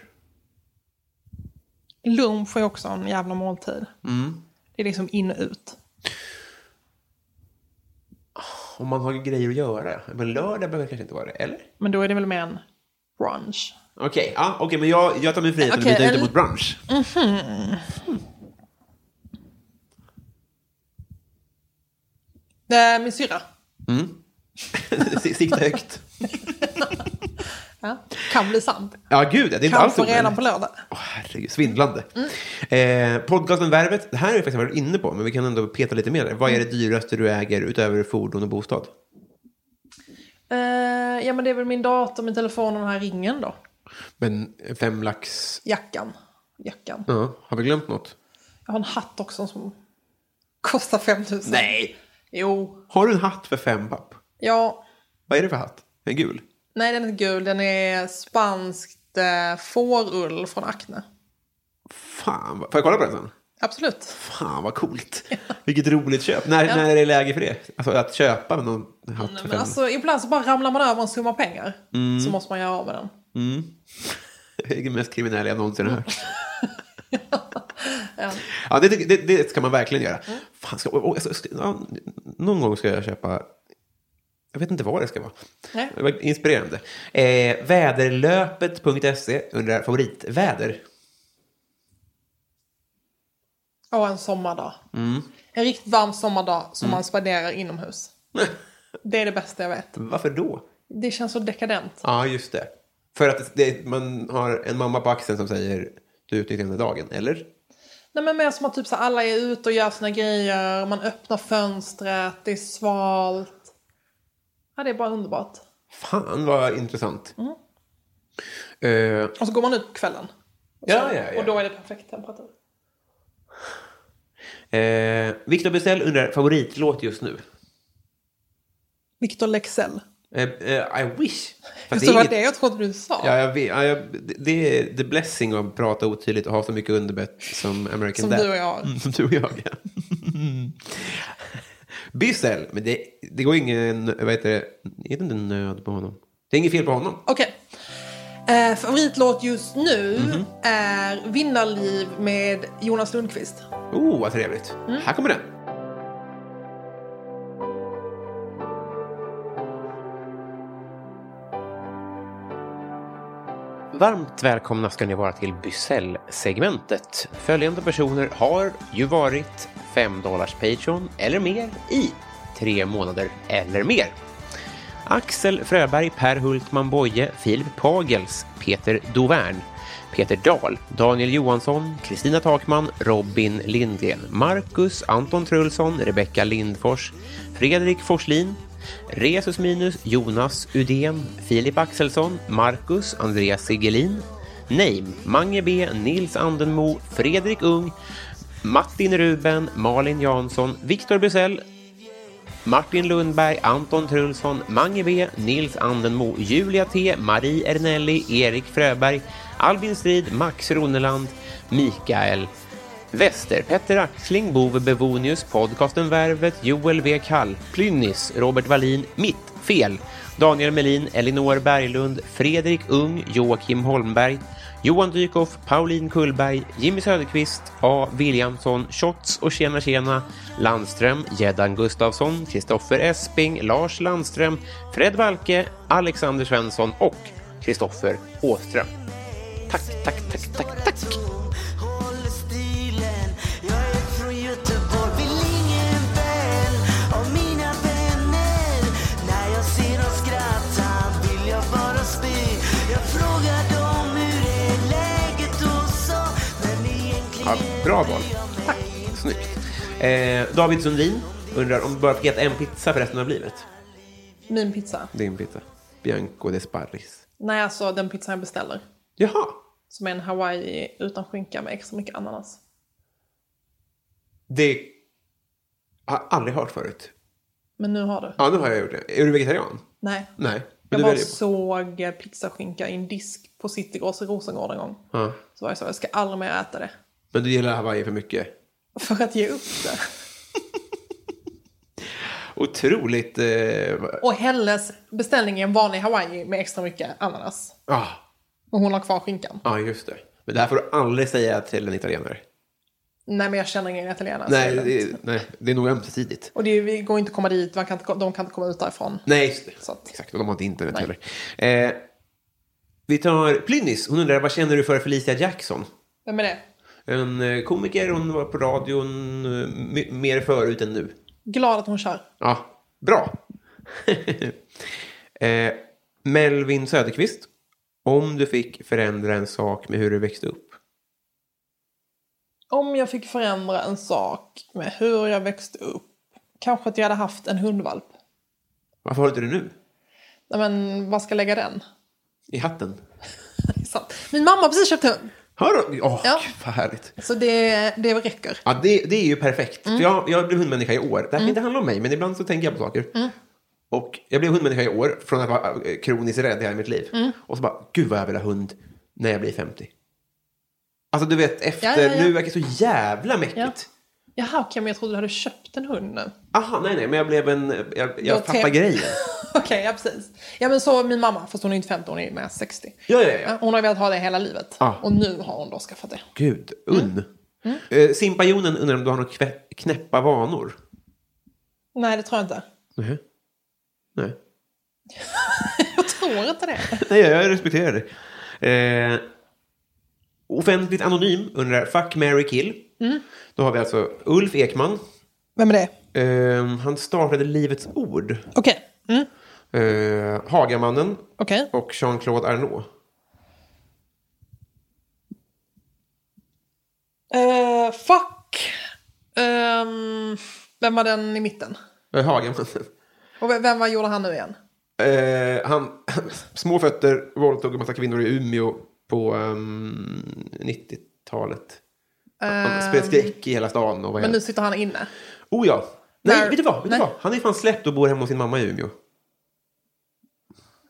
Lunch är också en jävla måltid. Mm. Det är liksom in och ut. Om man har grejer att göra. Men lördag behöver det kanske inte vara det, eller? Men då är det väl mer en brunch. Okej, ja, okej, men jag, jag tar min frihet att Okej, byta ut det en- mot brunch. Eh, min syrra. Sikta högt. Ja. Kan bli sant. Ja, gud, det är inte alls Kanske redan omöjligt. på lördag. Åh, herregud, svindlande. Mm. Eh, podcasten Värvet, det här har vi faktiskt varit inne på, men vi kan ändå peta lite mer. Vad är Mm. det dyraste du äger utöver fordon och bostad? Eh, ja, men det är väl min dator, min telefon och den här ringen då. Men fem lax... Jackan. Jackan. Ja, har vi glömt något? Jag har en hatt också som kostar 5000. Nej! Jo. Har du en hatt för fem papp? Ja. Vad är det för hatt? En gul? Nej, den är inte gul. Den är spanskt eh, fårull från Acne. Fan, vad- får jag kolla på den sen? Absolut. Fan vad coolt. Vilket roligt köp. När, när är det läge för det? Alltså att köpa någon hatt för Men fem- Mm. alltså, ibland så bara ramlar man över en summa pengar. Så måste man göra av med den. Det är det mest kriminella jag någonsin har hört. ja, Mm. det, tycker- det, det ska man verkligen göra. Fan, ska, och- och- ska, ska, ja, någon gång ska jag köpa... Jag vet inte vad det ska vara. Nej. Det var inspirerande. Eh, väderlöpet.se E, undrar favoritväder. Och en sommardag. Mm. En riktigt varm sommardag som man spenderar inomhus. Det är det bästa jag vet. Varför då? Det känns så dekadent. Ja, just det. För att det, man har en mamma på axeln som säger du utnyttjar den här dagen, eller? Nej men mer som att typ så här, alla är ute och gör sina grejer, man öppnar fönstret, det är svalt. Ja det är bara underbart. Fan vad intressant. Mm. Eh, Och så går man ut på kvällen. ja, ja, ja. Och då är det perfekt temperatur. Eh, Victor Bissell undrar favoritlåt just nu. Victor Lexell. Eh, eh, I wish. Fast Just det var inget- det jag trodde du sa. Ja, jag vet, ja, jag, det- det är the blessing av att prata otydligt och ha så mycket underbett som American Som Dad. du och jag har. Mm, som du och jag, ja. Bissell, men det, det går ingen... Vad heter det? Är det inte nöd på honom? Det är inget fel på honom. Okej. Eh, favoritlåt just nu Mhm. är Vinnarliv med Jonas Lundqvist. Oh, vad trevligt. Här kommer den. Varmt välkomna ska ni vara till Bysell-segmentet. Följande personer har ju varit 5 dollars Patreon eller mer i tre månader eller mer. Axel Fröberg, Per Hultman Boye, Filip Pagels, Peter Dovern, Peter Dahl, Daniel Johansson, Kristina Takman, Robin Lindgren, Marcus, Anton Trulsson, Rebecka Lindfors, Fredrik Forslin, Resus Minus, Jonas Udén, Filip Axelsson, Marcus, Andreas Sigelin, Neim, Mange B, Nils Andenmo, Fredrik Ung, Martin Ruben, Malin Jansson, Viktor Busell, Martin Lundberg, Anton Trulsson, Mange B, Nils Andenmo, Julia T, Marie Ernelli, Erik Fröberg, Albin Strid, Max Roneland, Mikael Wester, Petter Axling, Bove Bevonius, podcasten Värvet, Joel V. Kall, Plynnis, Robert Wallin, Mitt Fel, Daniel Melin, Elinor Berglund, Fredrik Ung, Joakim Holmberg, Johan Dykhoff, Pauline Kullberg, Jimmy Söderqvist, A. Williamson, Shots och Tjena Tjena, Landström, Gäddan Gustafsson, Kristoffer Esping, Lars Landström, Fred Valke, Alexander Svensson och Kristoffer Åström. Tack, tack, tack, tack, tack! Håller stilen Jag är från Göteborg Vill ingen väl av mina vänner När jag ser dem skratta vill jag bara spy Jag frågar dem hur är läget och så Men egentligen Ja, bra val. Tack. Snyggt. Eh, David Sundin undrar om du bara fick äta en pizza för resten av livet? Min pizza. Din pizza. Bianco de Sparris. Nej alltså den pizza jag beställer. Jaha! Som är en hawaii utan skinka med extra mycket ananas. Det har jag aldrig hört förut. Men nu har du. Ja, nu har jag gjort det. Är du vegetarian? Nej. Nej. Men Jag du bara väljer på. såg eh, pizzaskinka i en disk på Citygross i Rosengård en gång. Ja. Så var jag så, jag ska aldrig mer äta det. Men du gillar Hawaii för mycket. För att ge upp det. Otroligt... Eh, Och Helles beställning är en vanlig hawaii med extra mycket ananas. ah, Och hon har kvar skinkan. ah, just det. Men det här får du aldrig säga till en italienare. Nej men jag känner ingen italienare. så nej, det är lugnt. det, nej, det är nog ömsesidigt. Och det är, vi går inte att komma dit, man kan inte, ko- de kan inte komma ut därifrån. Nej, just det. Så att- Exakt, och de har inte internet heller. Eh, vi tar Plynnis. Hon undrar, vad känner du för Felicia Jackson? Vem är det? En eh, komiker, hon var på radion eh, my- mer förut än nu. Glad att hon kör. Ja, bra. eh, Melvin Söderqvist. Om du fick förändra en sak med hur du växte upp, Om jag fick förändra en sak med hur jag växte upp. Kanske att jag hade haft en hundvalp. varför har du inte det nu? Nej men vad ska jag lägga den? I hatten? Det är sant. Min mamma har precis köpt hund. Har du? Åh, Ja. gud, vad härligt. Så det, det räcker. Ja, det, det är ju perfekt. För jag, jag blev hundmänniska i år. Det här kan inte handla om mig, men ibland så tänker jag på saker. Och jag blev hundmänniska i år från att vara eh, kroniskt rädd i hela mitt liv. Och så bara, gud vad jag vill ha hund när jag blir 50. Alltså du vet, ja, ja. efter nu verkar så jävla mäckigt. Jaha, okej, men jag trodde du hade köpt en hund nu. Aha, nej, nej, men jag blev en... Jag, jag Jag tappade te- grejen. Okej, ja precis. Ja men så min mamma, fast hon är inte 50, hon är med 60. Ja, ja, ja. Hon har velat ha det hela livet. Ah. Och nu har hon då skaffat det. Gud, unn. Eh, Simpajonen undrar om du har några kvä- knäppa vanor? Nej, det tror jag inte. Nej. Nej, Jag tror inte det. nej jag respekterar det. Eh, offentligt anonym undrar, fuck, Mary kill. Mm. Då har vi alltså Ulf Ekman. Vem är det? Eh, han startade Livets Ord. Okej. Mm. Eh, Hagamannen Okej. och Jean-Claude Arnault. Eh, fuck. Ehm, vem var den i mitten? Eh, Hagamannen. Och ve- vem var gjorde han nu igen? Eh, han, små fötter, våldtog en massa kvinnor i Umeå på ehm, 90-talet. Han spred skräck i hela stan. Och var Ehm. Men nu helt... sitter han inne. Oh ja. Nej, När- vet du vad? Vet du Nej. vad? Han är fan släppt och bor hemma hos sin mamma i Umeå.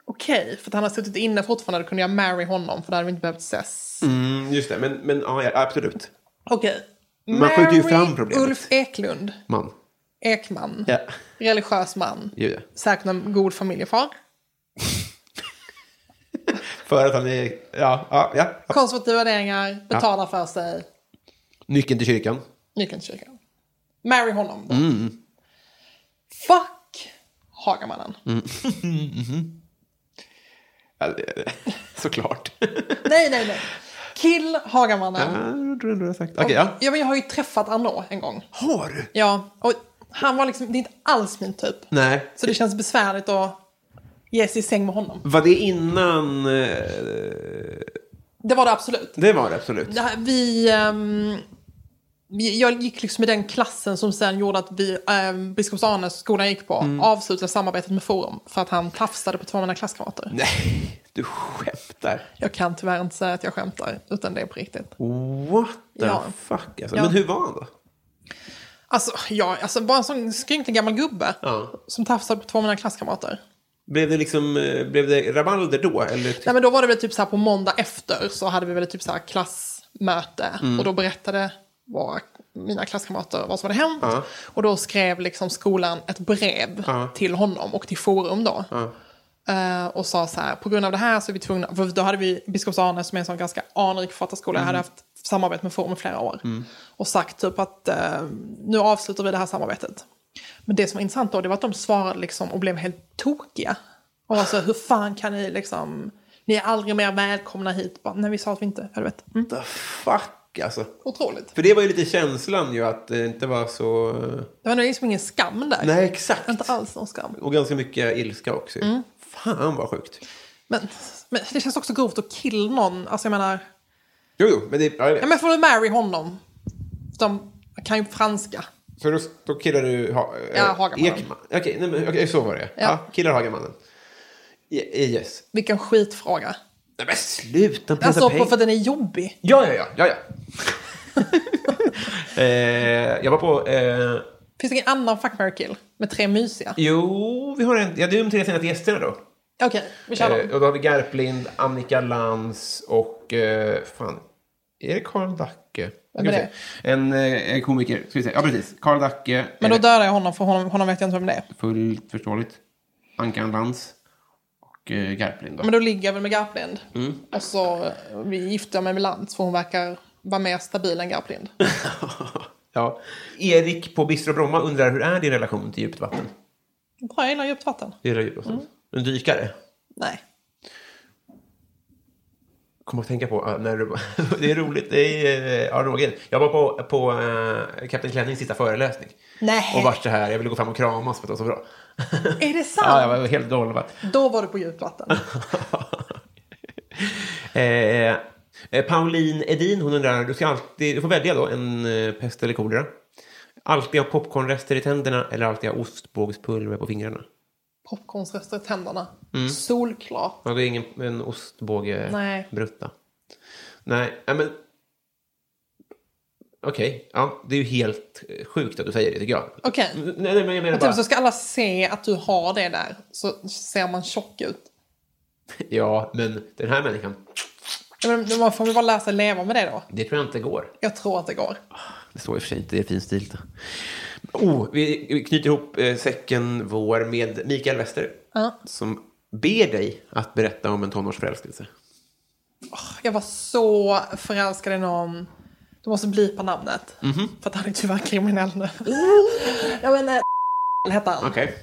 Okej, för att han har suttit inne fortfarande då kunde jag marry honom för då hade vi inte behövt ses. Mm, just det, men, men ja, ja, absolut. Okej. Man skjuter ju Marry fram problemet. Ulf Eklund. Man. Ekman. Ja, Religiös man. ju det. Säkert en god familjefar. För att han är... Ja, ja, ja. Konservativa värderingar, betalar för sig, Nyckeln till kyrkan. nyckeln till kyrkan. Marry honom. Då. Mm. Fuck Hagamannen. Mm. Ja, det- Såklart. Nej, nej, nej. Kill Hagamannen. Ja, jag tror ändå jag har sagt. Okej, ja. men jag har ju träffat Arnaud en gång. Har du? Ja, och han var liksom, det är inte alls min typ. Nej. Så det känns besvärligt att ge sig i säng med honom. Var det innan... eh, Det var det absolut. Det var det absolut. Det här, vi, ehm, vi, jag gick liksom i den klassen som sen gjorde att vi, um, Biskops Arnes skolan jag gick på, Mm. avslutade samarbetet med Forum för att han tafsade på två av mina klasskamrater. Nej, du skämtar. Jag kan tyvärr inte säga att jag skämtar, utan det är på riktigt. Oh. What the Ja. fuck alltså. Ja. Men hur var han då? Alltså, ja, alltså bara en sån skrynklig gammal gubbe Ja. som tafsade på två av mina klasskamrater. Blev det liksom, eh, blev det rabalder då? Eller? Nej men då var det väl typ så här på måndag efter så hade vi väl typ så här klassmöte Mm. och då berättade våra, mina klasskamrater vad som hade hänt. Ja. Och då skrev liksom skolan ett brev Ja. till honom och till Forum då. Eh, och sa så här, på grund av det här så är vi tvungna, för då hade vi Biskops Arne som är en sån ganska anrik författarskola, hade haft samarbete med Forum i flera år. Och sagt typ att eh, nu avslutar vi det här samarbetet. Men det som var intressant då, det var att de svarade liksom och blev helt tokiga. Och alltså hur fan kan ni liksom, ni är aldrig mer välkomna hit. Bara, Nej vi sa att vi inte, ja, du vet. Mm. What the fuck alltså. Otroligt. För det var ju lite känslan ju att det inte var så... Det var liksom ingen skam där. Nej, exakt. Inte alls någon skam. Och ganska mycket ilska också. Mm. Fan vad sjukt. Men, men det känns också grovt att kill någon. Alltså jag menar, Jo, jo, men det... Ja, jag ja, vet. men får du marry honom? De kan ju franska. Så då, då killar du ha, eh, Ja, Hagamannen. Ekman. Okej, nej, men okej, så var det. Ja. killar Hagamannen. I- Yes. Vilken skitfråga. Nej men sluta pressa Alltså pengar. på för den är jobbig. Ja, ja, ja. ja, ja. eh, jag var på... Eh, Finns det ingen annan fuck, marry, kill med tre mysiga? jo, vi har en... Ja, det är de tre senaste gästerna då. Okej, vi kör Eh, dem. och då har vi Garplind, Annika Lantz och... Eh, fan, är det Karl Dacke? Vem Ska är vi se. En, eh, en komiker. Ska vi se. Ja, precis. Karl Dacke. Men då eh, dödar jag honom för honom, honom vet jag inte vem det är. fullt förståeligt. Ankan Lantz. Och eh, Garplind då. Men då ligger jag väl med Garplind. Mm. Och så eh, vi gifter jag mig med Lantz för hon verkar vara mer stabil än Garplind. ja. Erik på Bistro Bromma undrar hur är din relation till djupt vatten? Bra, jag gillar djupt vatten. Det är djupt Mm. vatten. En dykare? Nej. kom att tänka på eh, när du... det är roligt. Det är, eh, ja, Roger. Jag var på, på eh, Kapten Klennings sista föreläsning. Nej. Och vart så här, jag ville gå fram och kramas för att det var så bra. Är det sant? ja, jag var helt golvad. Då var du på djupt vatten. eh, eh, Pauline Edin, hon undrar, du ska alltid, du får välja då, en eh, pest eller kolera. Alltid ha popcornrester i tänderna eller alltid ha ostbågspulver på fingrarna? Popcornsrester i tänderna. Mm. Solklart. Ja, det är ingen en ostbåge Nej. brutta. Nej, ja, men... Okej, ja, det är ju helt eh, sjukt att du säger det tycker jag. Okej. Mm, Nej, nej, men jag menar Och typ bara... så ska alla se att du har det där. Så ser man tjock ut. Ja, men den här människan. Ja, men man får väl bara lära sig leva med det då. Det tror jag inte går. Jag tror att det går. Det står i och för sig inte, det är fin stil. Oh, vi vi knyter ihop eh, säcken vår med Mikael Wester. Ja. Som ber dig att berätta om en tonårsförälskelse. Jag var så förälskad i någon. Du måste blipa namnet. För att han är tyvärr kriminell nu. ja men eh, hette han. Okej.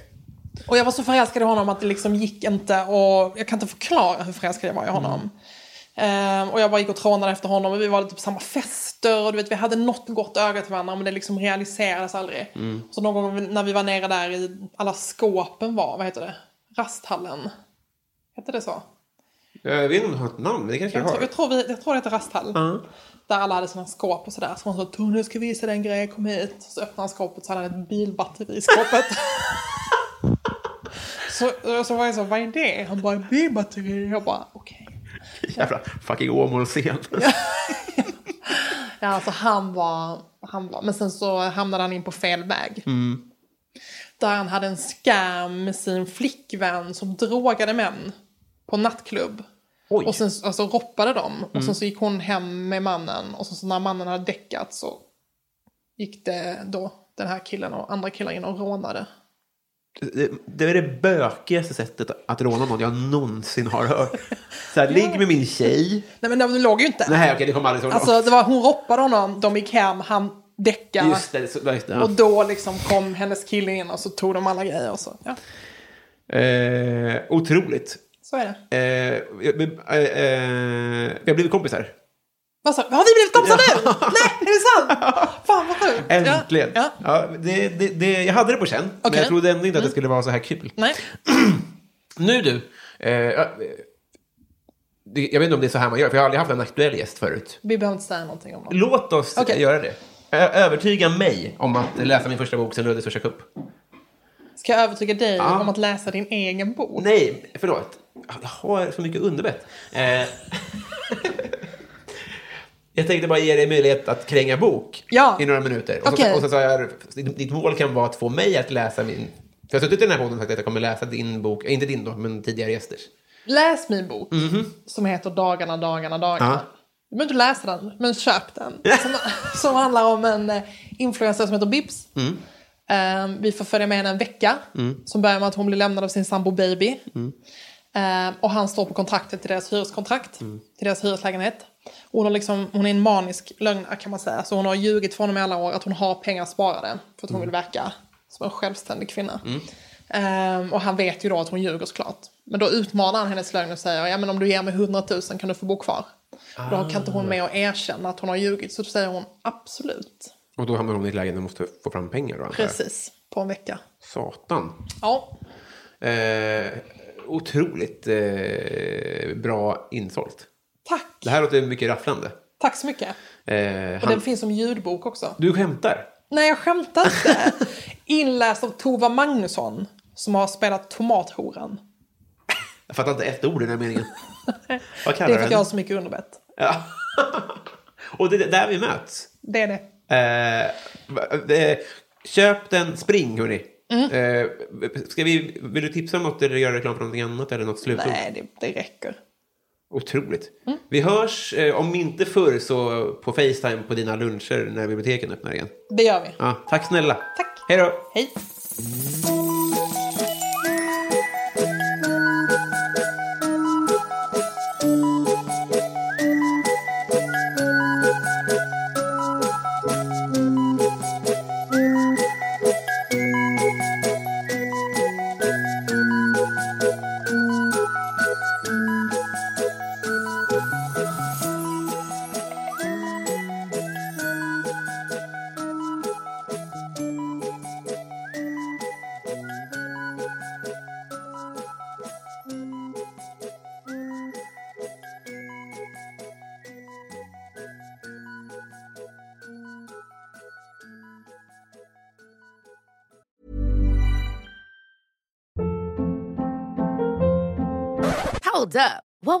Och jag var så förälskad i honom att det liksom gick inte och jag kan inte förklara hur förälskad jag var i honom. Ehm, och jag bara gick och trånade efter honom och vi var lite på samma fester och du vet vi hade något gott öga till varandra men det liksom realiserades aldrig. Så någon gång när vi var nere där i alla skåpen var, vad heter det? Rasthallen. Hette det så? Jag vet inte om du har ett namn, men det kanske jag Jag tror, har. jag tror, vi, jag tror det heter Rasthall. Ja. Där alla hade sina skåp och sådär. Så hon sa Tone jag ska visa dig en grej, kom hit. Så öppnade han skåpet så hade han ett bilbatteri i skåpet. så, så var jag så, vad är det? Han bara, bilbatteri. Jag bara, okej. Jävla fucking Åmålsscen. Ja, alltså han var, han var, men sen så hamnade han in på fel väg. Där han hade en scam med sin flickvän som drogade män på nattklubb. Oj. Mm. Och sen alltså, roppade dem. Och sen så gick hon hem med mannen. Och sen så när mannen hade däckat så gick det då den här killen och andra killar in och rånade. Det, det är det bökigaste sättet att råna någon jag någonsin har hört. Så här, ligg med min tjej. Nej men de låg ju inte. Nej, okej, det kommer aldrig så långt. Alltså det var, hon roppade honom, de gick hem, han däckade. Just det, så, just det. ja. Och då liksom kom hennes kille in och så tog de alla grejer och så. Ja, Eh, otroligt. så är det. Eh, jag- men, eh, eh, vi har blivit kompisar. Vad sa Har vi blivit kompisar nu? Nej, är det sant? Fan vad sjukt. Ja, Äntligen. Ja. det, det, det, jag hade det på känn, men Okej. Mm. jag trodde ändå inte att det skulle vara så här kul. Nej. Nu du. Eh, ja, eh, det, jag vet inte om det är så här man gör, för jag har aldrig haft en aktuell gäst förut. Vi behöver inte säga någonting om det. Låt oss Okej. göra det. Ö- Övertyga mig om att läsa min första bok sen Luddes första kupp. Ska jag övertyga dig Ja. om att läsa din egen bok? Nej, förlåt. Jag har så mycket underbett. Eh, jag tänkte bara ge dig möjlighet att kränga bok Ja. i några minuter. Och, Okej. så, och så sa jag, ditt ditt mål kan vara att få mig att läsa min... För jag har suttit i den här podden och sagt att jag kommer läsa din bok, eh, inte din då, men tidigare gästers. Läs min bok som heter Dagarna, dagarna, dagarna. Ja. Du behöver inte läsa den, men köp den. Som, som handlar om en eh, influencer som heter Bibs. Eh, vi får följa med henne en vecka. Som börjar med att hon blir lämnad av sin sambo Baby. Eh, och han står på kontraktet till deras hyreskontrakt. Till deras hyreslägenhet. Och hon, har liksom, hon är en manisk lögnare kan man säga. Så hon har ljugit för honom i alla år att hon har pengar sparade. För att hon vill verka som en självständig kvinna. Mm. Eh, och han vet ju då att hon ljuger såklart. Men då utmanar han hennes lögn och säger ja men om du ger mig 100 000 kan du få bo kvar. Då kan inte Ah. hon med och erkänna att hon har ljugit. Så då säger hon absolut. Och då hamnar hon i ett läge där hon måste få fram pengar då, antar jag. Precis. På en vecka. Satan. Ja, Eh, otroligt eh, bra insålt. tack. Det här låter mycket rafflande. Tack så mycket. Eh, Och han, den finns som ljudbok också. Du skämtar? Nej, jag skämtar inte. Inläst av Tova Magnusson som har spelat Tomathoran. Jag fattar inte ett ord i den här meningen. Vad Det kallar är för du att jag har den? så mycket underbett. Ja. Och det är där vi möts. Det är det. Eh, va- eh, köp den, spring hörni. Mm. Eh, ska vi, vill du tipsa om något eller göra reklam för någonting annat eller något slutord? Nej, Mm. det, det räcker. Otroligt. Vi hörs, eh, om inte förr, så på Facetime på dina luncher när biblioteken öppnar igen. Det gör vi. Ja, tack snälla. Tack. Hej då. Hej. Hold up. What